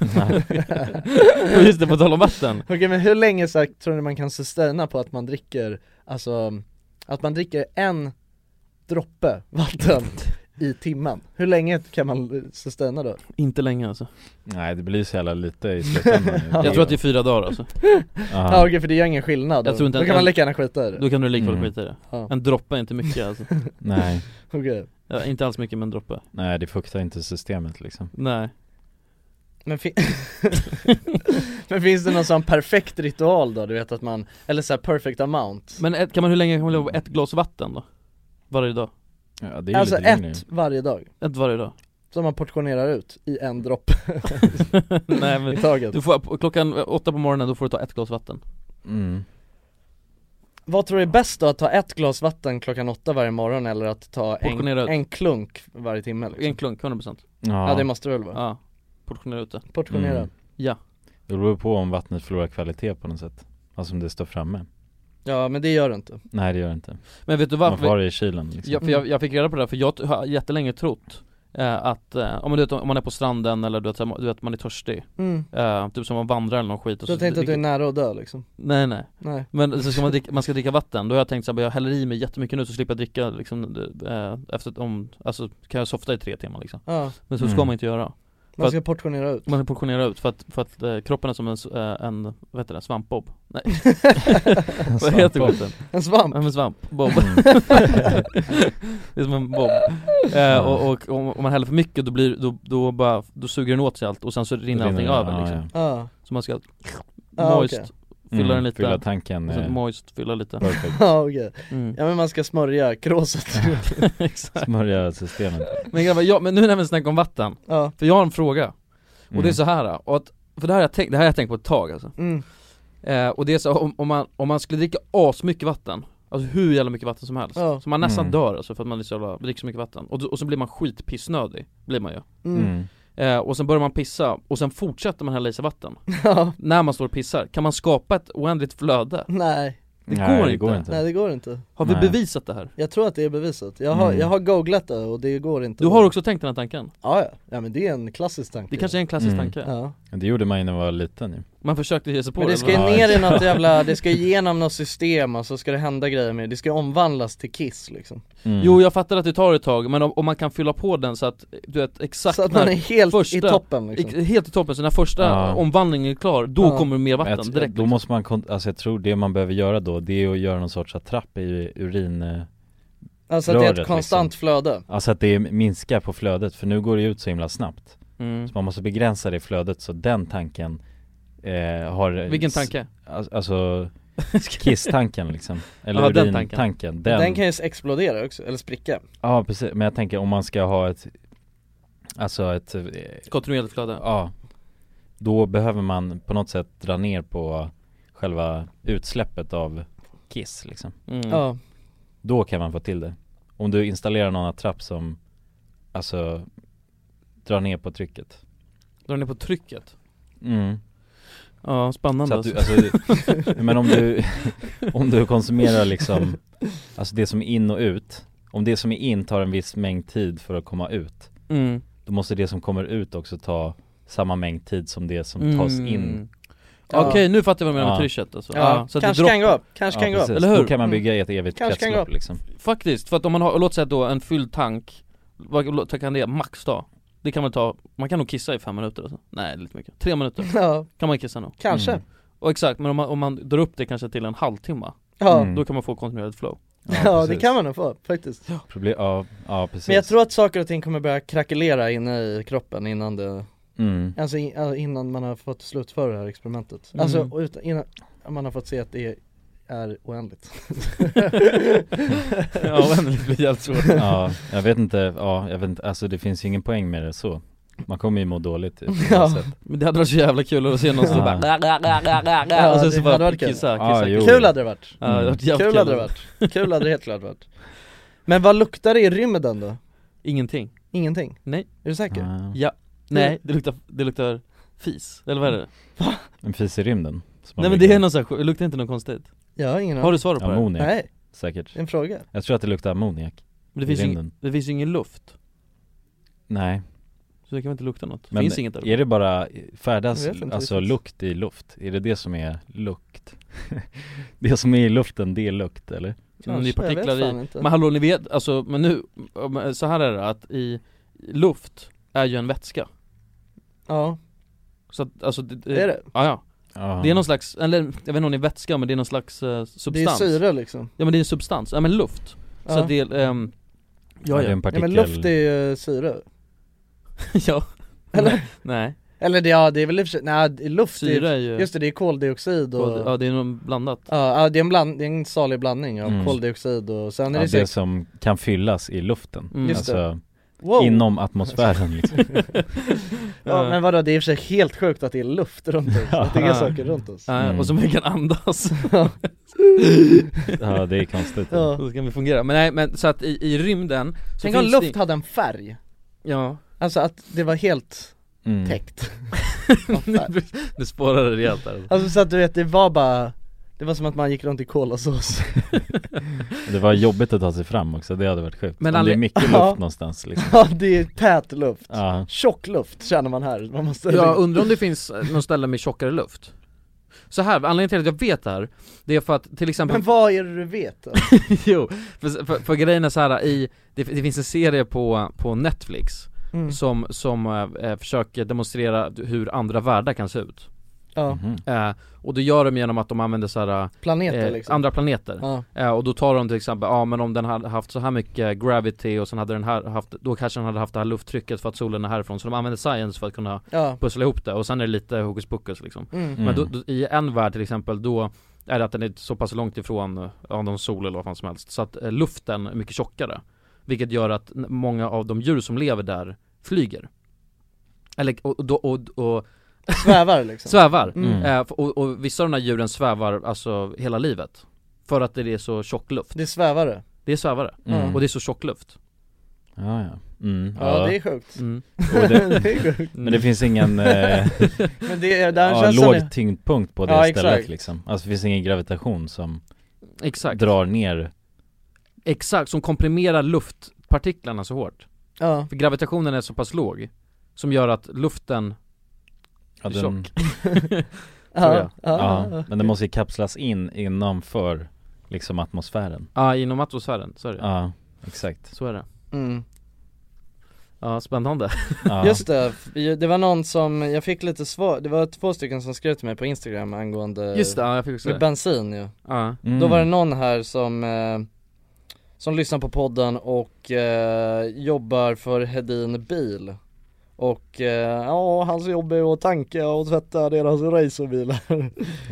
E: Och just det, på tal om vatten
F: Okej men hur länge så här, tror ni man kan sustaina på att man dricker, alltså, att man dricker en droppe vatten i timmen. Hur länge kan man sustaina då?
E: Inte länge alltså
B: Nej det blir så jävla lite i slutändan
E: Jag tror att det är fyra dagar alltså
F: Ja ah, okej för det gör ingen skillnad,
E: Jag tror inte
F: då
E: att-
F: kan man lika gärna skita i det
E: Då kan du likväl
F: Mm.
E: skita i det
F: Ja.
E: En droppe är inte mycket alltså
B: Nej.
F: Okej.
E: ja, Inte alls mycket men en droppe
B: Nej det fuktar inte systemet liksom
E: Nej
F: Men, fin- men finns det någon sån perfekt ritual då? Du vet att man, eller så här perfect amount?
E: Men ett, kan man, hur länge kan man leva på ett glas vatten då? Varje dag?
B: Ja,
F: Alltså ett varje dag,
E: Ett varje dag?
F: som man portionerar ut i en droppe
E: Nej
F: i
E: men,
F: taget
E: du får, klockan åtta på morgonen då får du ta ett glas vatten
B: mm.
F: Vad tror du är bäst då? Att ta ett glas vatten klockan åtta varje morgon eller att ta en,
E: Portionera ut.
F: en klunk varje timme? Liksom?
E: En klunk, 100%
F: Ja. det måste det väl vara?
E: Ja, portionera ut det
F: Portionera
B: Mm.
E: Ja
B: Det beror på om vattnet förlorar kvalitet på något sätt Alltså om det står framme
F: Ja men det gör det inte
B: Nej det gör det inte
E: Men vet du varför?
B: Man får ha det i kylen liksom
E: Ja, för jag, jag fick reda på det där, för jag t- har jättelänge trott eh, att, eh, om, man, du vet, om man är på stranden eller du vet, så här, du vet man är törstig
F: Mm.
E: eh, Typ som man vandrar eller någon skit
F: Så
E: och
F: jag tänkte att du är nära att dö liksom?
E: Nej nej,
F: Nej.
E: men så ska man, dricka, man ska dricka vatten, då har jag tänkt såhär, jag häller i mig jättemycket nu så slipper jag dricka liksom, eh, efter om, alltså kan jag softa i tre timmar liksom
F: Ja.
E: Men så ska
F: Mm.
E: man inte göra För
F: Man ska
E: att-
F: portionera ut
E: man portionerar ut för att, för att eh, kroppen är som en, s- eh, en vad heter det, svampbob? Nej Vad heter
F: svampbob.
E: skiten?
F: En svamp.
E: Ja, en svamp, bob
B: Mm.
E: Det är som en bob eh, och, och om, om man häller för mycket då blir, då, då bara, då suger den åt sig allt och sen så rinner
B: Rinner
E: allting
B: det,
E: över
B: ja,
E: liksom
F: ja. Ja.
E: Så man ska
F: Ja,
E: moist,
F: Ah, okej.
E: fylla
B: Mm,
E: den lite
B: fylla tanken,
E: och sen
B: eh,
E: moist, fylla lite
B: perfekt.
F: Ja okej,
E: Mm.
F: ja men man ska smörja kråset
E: Exakt
B: Smörja systemet
E: Men grabbar, ja, men nu när vi snackar om vatten,
F: Ja.
E: för jag har en fråga Och det är
B: Mm.
E: så här, och att, för det här har jag tänkt, det här har jag tänkt på ett tag alltså
F: Mm.
E: eh, Och det är så om, om, man, om man skulle dricka asmycket vatten Alltså hur jävla mycket vatten som helst,
F: Ja.
E: så man nästan
F: Mm.
E: dör alltså för att man är så jävla, dricker så mycket vatten och, då- och så blir man skitpissnödig, blir man ju
F: Mm. Mm.
E: eh, Och sen börjar man pissa, och sen fortsätter man hälla i sig vatten
F: Ja.
E: När man står och pissar, kan man skapa ett oändligt flöde?
F: Nej
E: Det går inte.
F: Nej det går inte
E: Har vi
F: Nej.
E: bevisat det här?
F: Jag tror att det är bevisat, jag har,
E: Mm.
F: jag har googlat det och det går inte
E: Du har också tänkt den här tanken?
F: Ja, ja. ja men det är en klassisk tanke
E: Det kanske är en klassisk
F: Mm.
E: tanke?
F: Ja.
B: Det gjorde man ju när man var liten ju
E: Man försökte ge sig på
F: Men det
E: det
F: ska ju ner i något jävla, det ska ju igenom något system och så ska det hända grejer med det, det ska ju omvandlas till kiss liksom
E: Jo jag fattar att det tar ett tag, men om, om man kan fylla på den så att du vet exakt
F: Så att man
E: när
F: är helt i toppen, liksom.
E: ex- Helt i toppen, så när första
B: Ja.
E: omvandlingen är klar, då
F: Ja.
E: kommer det mer
B: Men jag
E: vatten
B: tror-
E: direkt liksom.
B: Då måste man, kon- alltså jag tror det man behöver göra då, det är att göra någon sorts attrapp i urin eh,
F: Alltså att det är ett
B: röret,
F: konstant
E: liksom.
F: flöde.
B: Alltså att det minskar på flödet, för nu går det ut så himla snabbt
E: Mm.
B: Så man måste begränsa det flödet så den tanken eh, har
E: Vilken tanke?
B: Al- Alltså Kiss-tanken liksom, eller
E: Ja, den Mm. tanken.
B: urintanken
F: den... kan ju explodera också, eller spricka
B: Ja precis, men jag tänker om man ska ha ett Alltså ett eh,
E: Kontinuerligt flöde?
B: Ja Då behöver man på något sätt dra ner på själva utsläppet av kiss liksom
E: Mm.
F: Ja.
B: Då kan man få till det Om du installerar någon attrapp som Alltså Drar ner på trycket
E: Drar ner på trycket?
B: Mm
E: Ja, spännande
B: Så att du, alltså, men om du, om du konsumerar liksom, alltså det som är in och ut, om det som är in tar en viss mängd tid för att komma ut,
F: alltså.
E: Mm.
B: då måste det som kommer ut också ta samma mängd tid som det som tas in.
E: Mm. Okej, nu fattar jag vad du menar med trycket alltså. Ja, så att det
F: Kanske
E: droppar.
F: kan gå upp, kanske kan gå upp
B: precis.
E: Eller hur?
B: Då kan man bygga ett evigt
F: Kanske kan gå
B: kretslopp
F: upp.
B: liksom.
E: Faktiskt, för att om man har, låt säga då en fylld tank, vad vad kan det max ta? Det kan man ta, man kan nog kissa i fem minuter alltså. Nej, det är lite mycket. Tre minuter
F: Ja.
E: kan man kissa nog
F: Kanske. Mm.
E: Och exakt, men om man, om man drar upp det kanske till en halvtimme
F: Ja.
B: Mm.
E: Då kan man få kontinuerligt flow
F: Ja, det kan man nog få faktiskt
B: Problem, ja, ja precis.
F: Men jag tror att saker och ting kommer börja krackelera inne i kroppen innan det
B: Mm.
F: Alltså in, ja, innan man har fått slutföra det här experimentet
E: Mm.
F: Alltså utan, innan man har fått se att det är, är oändligt
E: Ja, oändligt blir jävligt svårt
B: Ja, jag vet inte, ja, jag vet inte, alltså det finns ju ingen poäng med det så. Man kommer ju må dåligt typ,
F: Ja.
E: Men det hade varit så jävla kul att se någon som bara
F: Ja,
E: Och sen Alltså, så
F: det
E: bara
F: hade varit
E: kissa,
F: kul.
E: kissa,
F: Ja,
E: kissa.
F: jo. Mm. Kul hade det varit.
E: Ja, det hade varit jävligt
F: Kul hade det varit, kul hade det helt klart varit Men vad luktar det i rymden då?
E: Ingenting
F: Ingenting?
E: Nej
F: Är du säker?
E: Ja, nej det luktar, det luktar fis, eller vad är det?
B: En fis i rymden. som man
E: Nej men
B: brukar-
E: det är någon sån här, det luktar inte något konstigt
F: Jag har ingen
E: Har du svaret på det?
B: Ammoniak,
F: Nej.
B: säkert.
F: En fråga.
B: Jag tror att det luktar ammoniak.
E: Men det
B: i
E: finns, ju,
B: rymden.
E: det finns ju ingen luft,
B: Nej.
E: så det kan väl inte lukta något? Det
B: Men
E: finns inget där
B: är det bara, färdas
E: Jag vet inte
B: alltså
E: riktigt.
B: lukt i luft? Är det det som är lukt? det som är i luften, det är lukt eller?
F: Kanske, jag
E: nanopartiklar
F: vet fan
E: i
F: inte.
E: Men hallå ni vet, alltså men nu, men så här är det att i luft är ju en vätska
F: Ja,
E: Så att, alltså det,
F: Är det?
E: Ja, ja.
F: Ja.
E: Det är någon slags, eller jag vet inte om det är vätska men det är någon slags eh, substans
F: syre, liksom.
E: Ja men det är en substans, ja men luft
F: Ja.
E: Så att det är, ehm,
F: Ja, det är en partikel. Ja, men luft är ju syre
E: Ja
F: Eller?
E: Nej
F: Eller det, ja, det är väl i och för sig, nej det- luft
E: Syre
F: är
E: är ju-
F: Just det, det är koldioxid och
E: Koldi- ja, det är nog blandat
F: Ja, ja, det är en, bland, det är en salig blandning av
B: Mm.
F: koldioxid och sen
B: Ja,
F: är det,
B: det
F: säkert
B: som kan fyllas i luften,
F: Mm. Just det.
B: alltså
F: Wow.
B: inom atmosfären liksom.
F: Ja men vadå, det är i och för sig helt sjukt att det är luft runt oss, att det är
E: Ja.
F: saker runt oss
E: Ja, och som vi kan andas
B: Ja, det är konstigt.
F: Ja.
E: Så kan vi fungera, men nej men så att i, i rymden så
F: Tänk om
E: finns det-
F: luft hade en färg
E: Ja
F: Alltså att det var helt
E: Mm.
F: täckt
E: Nu spårar det rejält där
F: Alltså så att du vet, det var bara Det var som att man gick runt i kolasås
B: Det var jobbigt att ta sig fram också, det hade varit sjukt.
F: Men
B: Men Om det är
F: anle-
B: mycket luft
F: Ja.
B: någonstans liksom.
F: Ja det är tät luft,
B: Ja.
F: tjock luft känner man här, man måste
E: Jag undrar om det finns eh, någon ställe med tjockare luft så här, anledningen till att jag vet det här, det är för att till exempel
F: Men vad är det du vet då?
E: jo, för, för, för grejen är så här i, det, det finns en serie på, på Netflix
F: Mm.
E: som, som eh, eh, försöker demonstrera hur andra världar kan se ut
F: Ja.
B: Mhm.
E: eh, Och det gör de genom att de använder så här eh,
F: Planeter, liksom.
E: Andra planeter
F: Ja.
E: eh, Och då tar de till exempel, ja men om den hade haft så här mycket gravity och sen hade den här haft, då kanske den hade haft det här lufttrycket för att solen är härifrån Så de använder science för att kunna
F: Ja.
E: pussla ihop det och sen är det lite hokus pokus liksom
F: Mm.
E: Men
F: Mm.
E: då, då, i en värld till exempel då är det att den är så pass långt ifrån eh, ja, någon sol eller vad fan som helst Så att eh, luften är mycket tjockare Vilket gör att n- många av de djur som lever där flyger Eller, och, och, då- och, och
F: Svävar liksom.
E: Svävar!
F: Mm.
E: Eh, f- och, och vissa av de här djuren svävar alltså hela livet För att det är så tjock luft
F: Det är svävare
E: Det är svävare,
F: Mm.
E: och det är så tjock luft
B: Ja, ja. Mm,
F: Ja, det är sjukt.
E: Mm.
B: Och det,
F: Det är sjukt.
B: Men det finns ingen eh,
F: Men det är- där
B: ja,
F: känns
B: låg
F: den-
B: tyngdpunkt på det
F: Ja,
B: stället
F: exakt.
B: liksom Alltså det finns ingen gravitation som
E: Exakt.
B: drar ner
E: Exakt, som komprimerar luftpartiklarna så hårt
F: Ja.
E: För gravitationen är så pass låg Som gör att luften
B: ja,
E: är
B: den-
E: tjock
F: Ja,
B: Tror jag. Ja,
F: ja, ja.
B: Men den måste ju kapslas in innanför liksom atmosfären
E: Ja, ah, inom atmosfären, så är det
B: Ja, exakt
E: Så är det
F: Mm.
E: Ja, spännande
F: Just det, ju- det var någon som, jag fick lite svar, det var två stycken som skrev till mig på instagram angående
E: Just det, ja, jag fick också
F: med
E: det.
F: bensin ju
E: Ja.
F: Då
E: Mm.
F: var det någon här som, eh, som lyssnar på podden och eh, jobbar för Hedin Bil och eh, ja, hans jobb är att tanka och tvätta deras racerbilar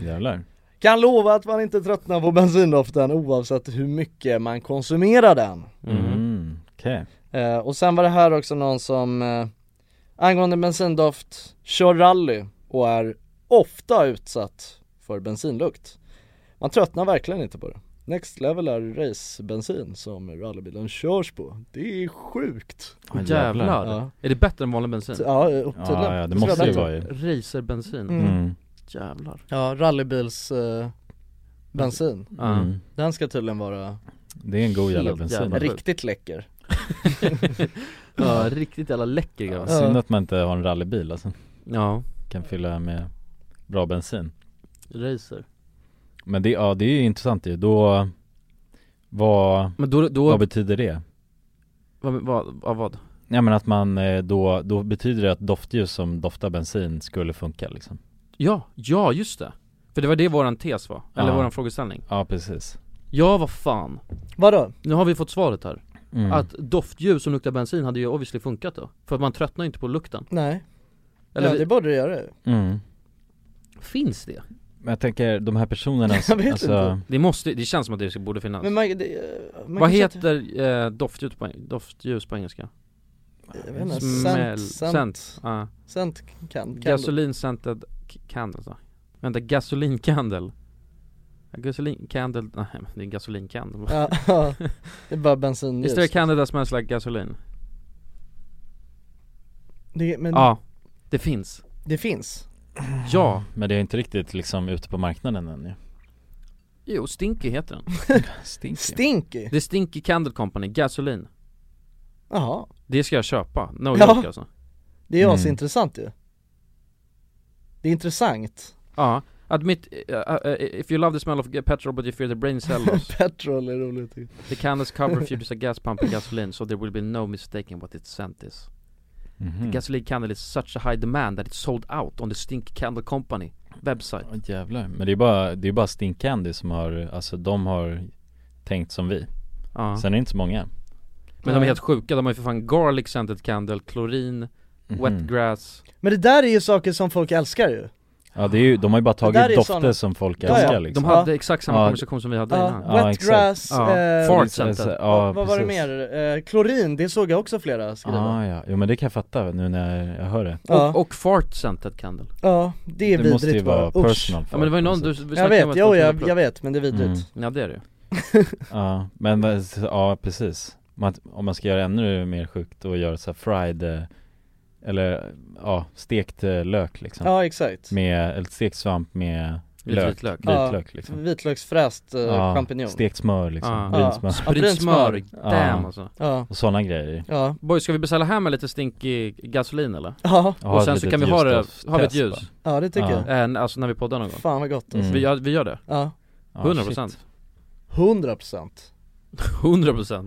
B: Jävlar
F: Kan lova att man inte tröttnar på bensindoften oavsett hur mycket man konsumerar den
B: Mm, okej
F: Eh, och sen var det här också någon som eh, angående bensindoft kör rally och är ofta utsatt för bensinlukt. Man tröttnar verkligen inte på det. Next level är racebensin som rallybilen körs på. Det är sjukt.
E: Åh, Jävlar!
F: Ja.
E: Är det bättre än vanlig bensin?
F: Ja, eh, upp till Ja,
B: ja, det måste ju vara ju.
E: Racerbensin
F: Mm. Mm.
E: Jävlar
F: Ja, rallybils eh, bensin.
E: Ja. Mm.
F: Den ska tydligen vara
B: Det är en god jävla
F: helt
B: bensin.
F: Riktigt läcker.
E: Ja, riktigt jävla läcker
B: ja,
E: grabb
B: Synd att man inte har en rallybil alltså
E: Ja
B: Kan fylla med bra bensin
E: Racer
B: Men det, ja, det är ju intressant ju, då vad,
E: Men då- då-
B: vad betyder det?
E: Vad, vad, vad, vad?
B: Ja men att man eh, då, då betyder det att doftljus som doftar bensin skulle funka liksom
E: Ja, ja just det! För det var det våran tes var, eller
B: Ja.
E: våran frågeställning
B: Ja precis
E: Ja vad fan
F: Vadå?
E: Nu har vi fått svaret här
B: Mm.
E: Att doftljus som luktar bensin hade ju obviously funkat då För att man tröttnar inte på lukten
F: Nej.
E: Eller
F: ja,
E: vi-
F: det borde det göra ju.
B: mm.
E: Finns det?
B: Men jag tänker de här personerna alltså-
F: Jag vet inte.
E: Det måste, det känns som att det borde finnas
F: Men man, det, eh, man
E: Vad
F: kanske-
E: heter eh, doftljus, på, doftljus på engelska?
F: Jag vet inte,
E: Smäll-
F: cent, cent.
E: cent, ja.
F: Cent kan, kan
E: Gasolincented k- candle så. Vänta, gasolincandle Gasolincandle, nej men det är en gasolincandle
F: Ja, ja. det är bara bensinljus
E: Is there a candle that smells like gasoline?
F: det, men
E: Ja, det finns
F: det finns Ah.
E: Ja,
B: Men det är inte riktigt liksom ute på marknaden än ju
E: jo stinky heter den
B: Stinky
F: Stinky?
E: The Stinky Candle Company, gasolin
F: Jaha,
E: Det ska jag köpa, no
F: Ja.
E: joke alltså
F: det är ju
E: Mm.
F: asintressant ju Det är intressant
E: Ja, Admit, uh, uh, uh, if you love the smell of petrol but you fear the brain cell loss
F: Petrol är roligt ju.
E: The can is covered fuels a gas pump and gasoline so there will be no mistaking what its scent is The
F: Mm.
B: Mhm.
E: gasoline candle is such a high demand that it's sold out on the Stink Candle Company website
F: Mm.
B: Åh, jävlar. Men det är bara, det är bara Stink Candy som har, alltså de har tänkt som vi
E: Ja.
B: Sen är det inte så många
E: Men de är helt sjuka, de har ju för fan garlic scented candle, klorin,
F: Mhm.
B: Mhm.
E: wet grass
F: Men det där är ju saker som folk älskar ju
B: Ja det är ju, de har ju bara
F: Det där är
B: tagit dofter
F: sådana-
B: som folk
F: Ja, ja.
B: älskar liksom
E: De hade exakt samma
B: Ja.
E: konversation som vi hade
F: Ja,
E: innan
F: wet
B: exakt.
F: grass,
B: Ja.
F: eh,
E: Fart
F: vad-
E: scented.
B: Ja,
F: Vad var det
B: precis.
F: mer? Eh, klorin, det såg jag också flera skriva
B: ah, ja, jo men det kan jag fatta nu när jag hör det
F: Ja.
E: Och, och fart scented candle
F: Ja, det är
B: Det
F: vidrigt
B: måste ju vara
F: bara. Usch.
B: personal Mm.
E: Ja men det var ju någon du, vi
F: Jag
E: snackade om
F: vet,
E: att
F: jo,
E: folk
F: jag,
E: gjorde-
F: jag vet men det är vidrigt
E: Ja det är det ju.
B: Liksom. alltså. Ja, men vad- ja precis Man- Om man ska göra ännu mer sjukt och göra så här fried eh, Eller ja, stekt eh, lök liksom
F: Ja exakt
B: Med, eller stekt svamp med
E: Vit-
B: lök,
E: vitlök.
B: vitlök liksom
F: Vitlöksfräst eh,
B: Ja,
F: champinjon
B: Stekt smör liksom,
E: Ja.
B: vinsmör
F: Ja,
E: Sprit smör,
F: brynt
B: smör.
E: damn
B: Ja.
E: alltså
F: Ja,
B: och sådana grejer
F: ja,
E: Boy, ska vi beställa hem en lite stinkig gasolin eller?
F: ja,
B: Ja,
E: och
B: ett
E: sen så
B: litet
E: kan vi ha det,
B: ljusdoftstest
E: har vi ett
B: bara.
E: ljus?
F: ja det tycker
B: Ja.
F: jag
E: Äh, n- alltså när vi poddar någon gång
F: Fan vad gott alltså
B: Mm.
E: vi, gör, vi gör det,
F: Ja,
B: Ja,
E: 100%
B: shit.
F: 100%
E: 100%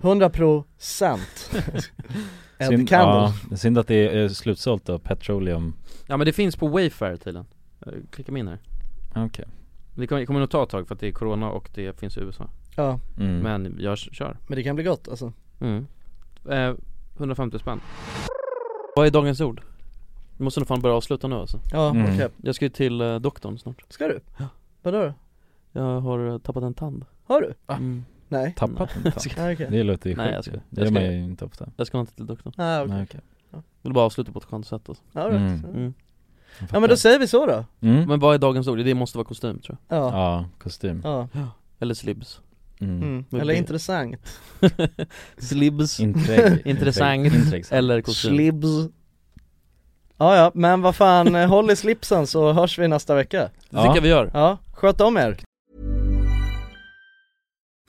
F: 100%
B: Synd-
F: Ed Campbell
B: ja, det är synd att det är eh, slutsålt då, petroleum
E: Ja men det finns på Wayfair tydligen Eh, Klicka mig in här
B: Okej
E: Det kommer, det kommer nog ta ett tag för att det är Corona och det finns i USA
F: Ja,
B: mm.
E: Men jag kör
F: men det kan bli gott alltså
E: mm. eh, 150 spänn Vad är dagens ord? Vi måste nog fan börja avsluta nu alltså
F: Ja,
B: Mm.
F: okej,
E: Jag ska ju till eh, doktorn snart
F: ska du? Vadå då?
E: Jag har eh, tappat en tand
F: Har du?
E: mm.
F: Nej,
B: Tappat en tand?
F: nej okej
B: Det låter ju
E: Nej,
B: sjukt
E: jag ska-
B: ju. Det
E: jag
B: gör
E: ska-
B: man ju inte ofta
E: Jag ska inte till doktorn
F: Nej
B: Nej,
F: Ah, okej,
B: okej.
E: Vill bara avsluta på ett skönt sätt alltså.
F: Ja, right.
B: Mm.
E: mm.
B: Jag
F: Ja men då
B: fattar.
F: säger vi så då
B: mm.
E: Men vad är dagens ord? Det måste vara kostym tror jag
F: Ja,
B: Ja, kostym
F: ja,
E: Eller slibs
B: mm.
F: mm.
E: Men
F: eller
E: det-
F: intressant
E: Slibs
B: Inträgg
E: Intressant.
B: Inträgg. Inträggsam.
E: Eller kostym
F: Slibs Ja ja, men vad fan, eh, håll i slipsen så hörs vi nästa vecka
E: Det tycker jag vi gör
F: Ja, sköt om er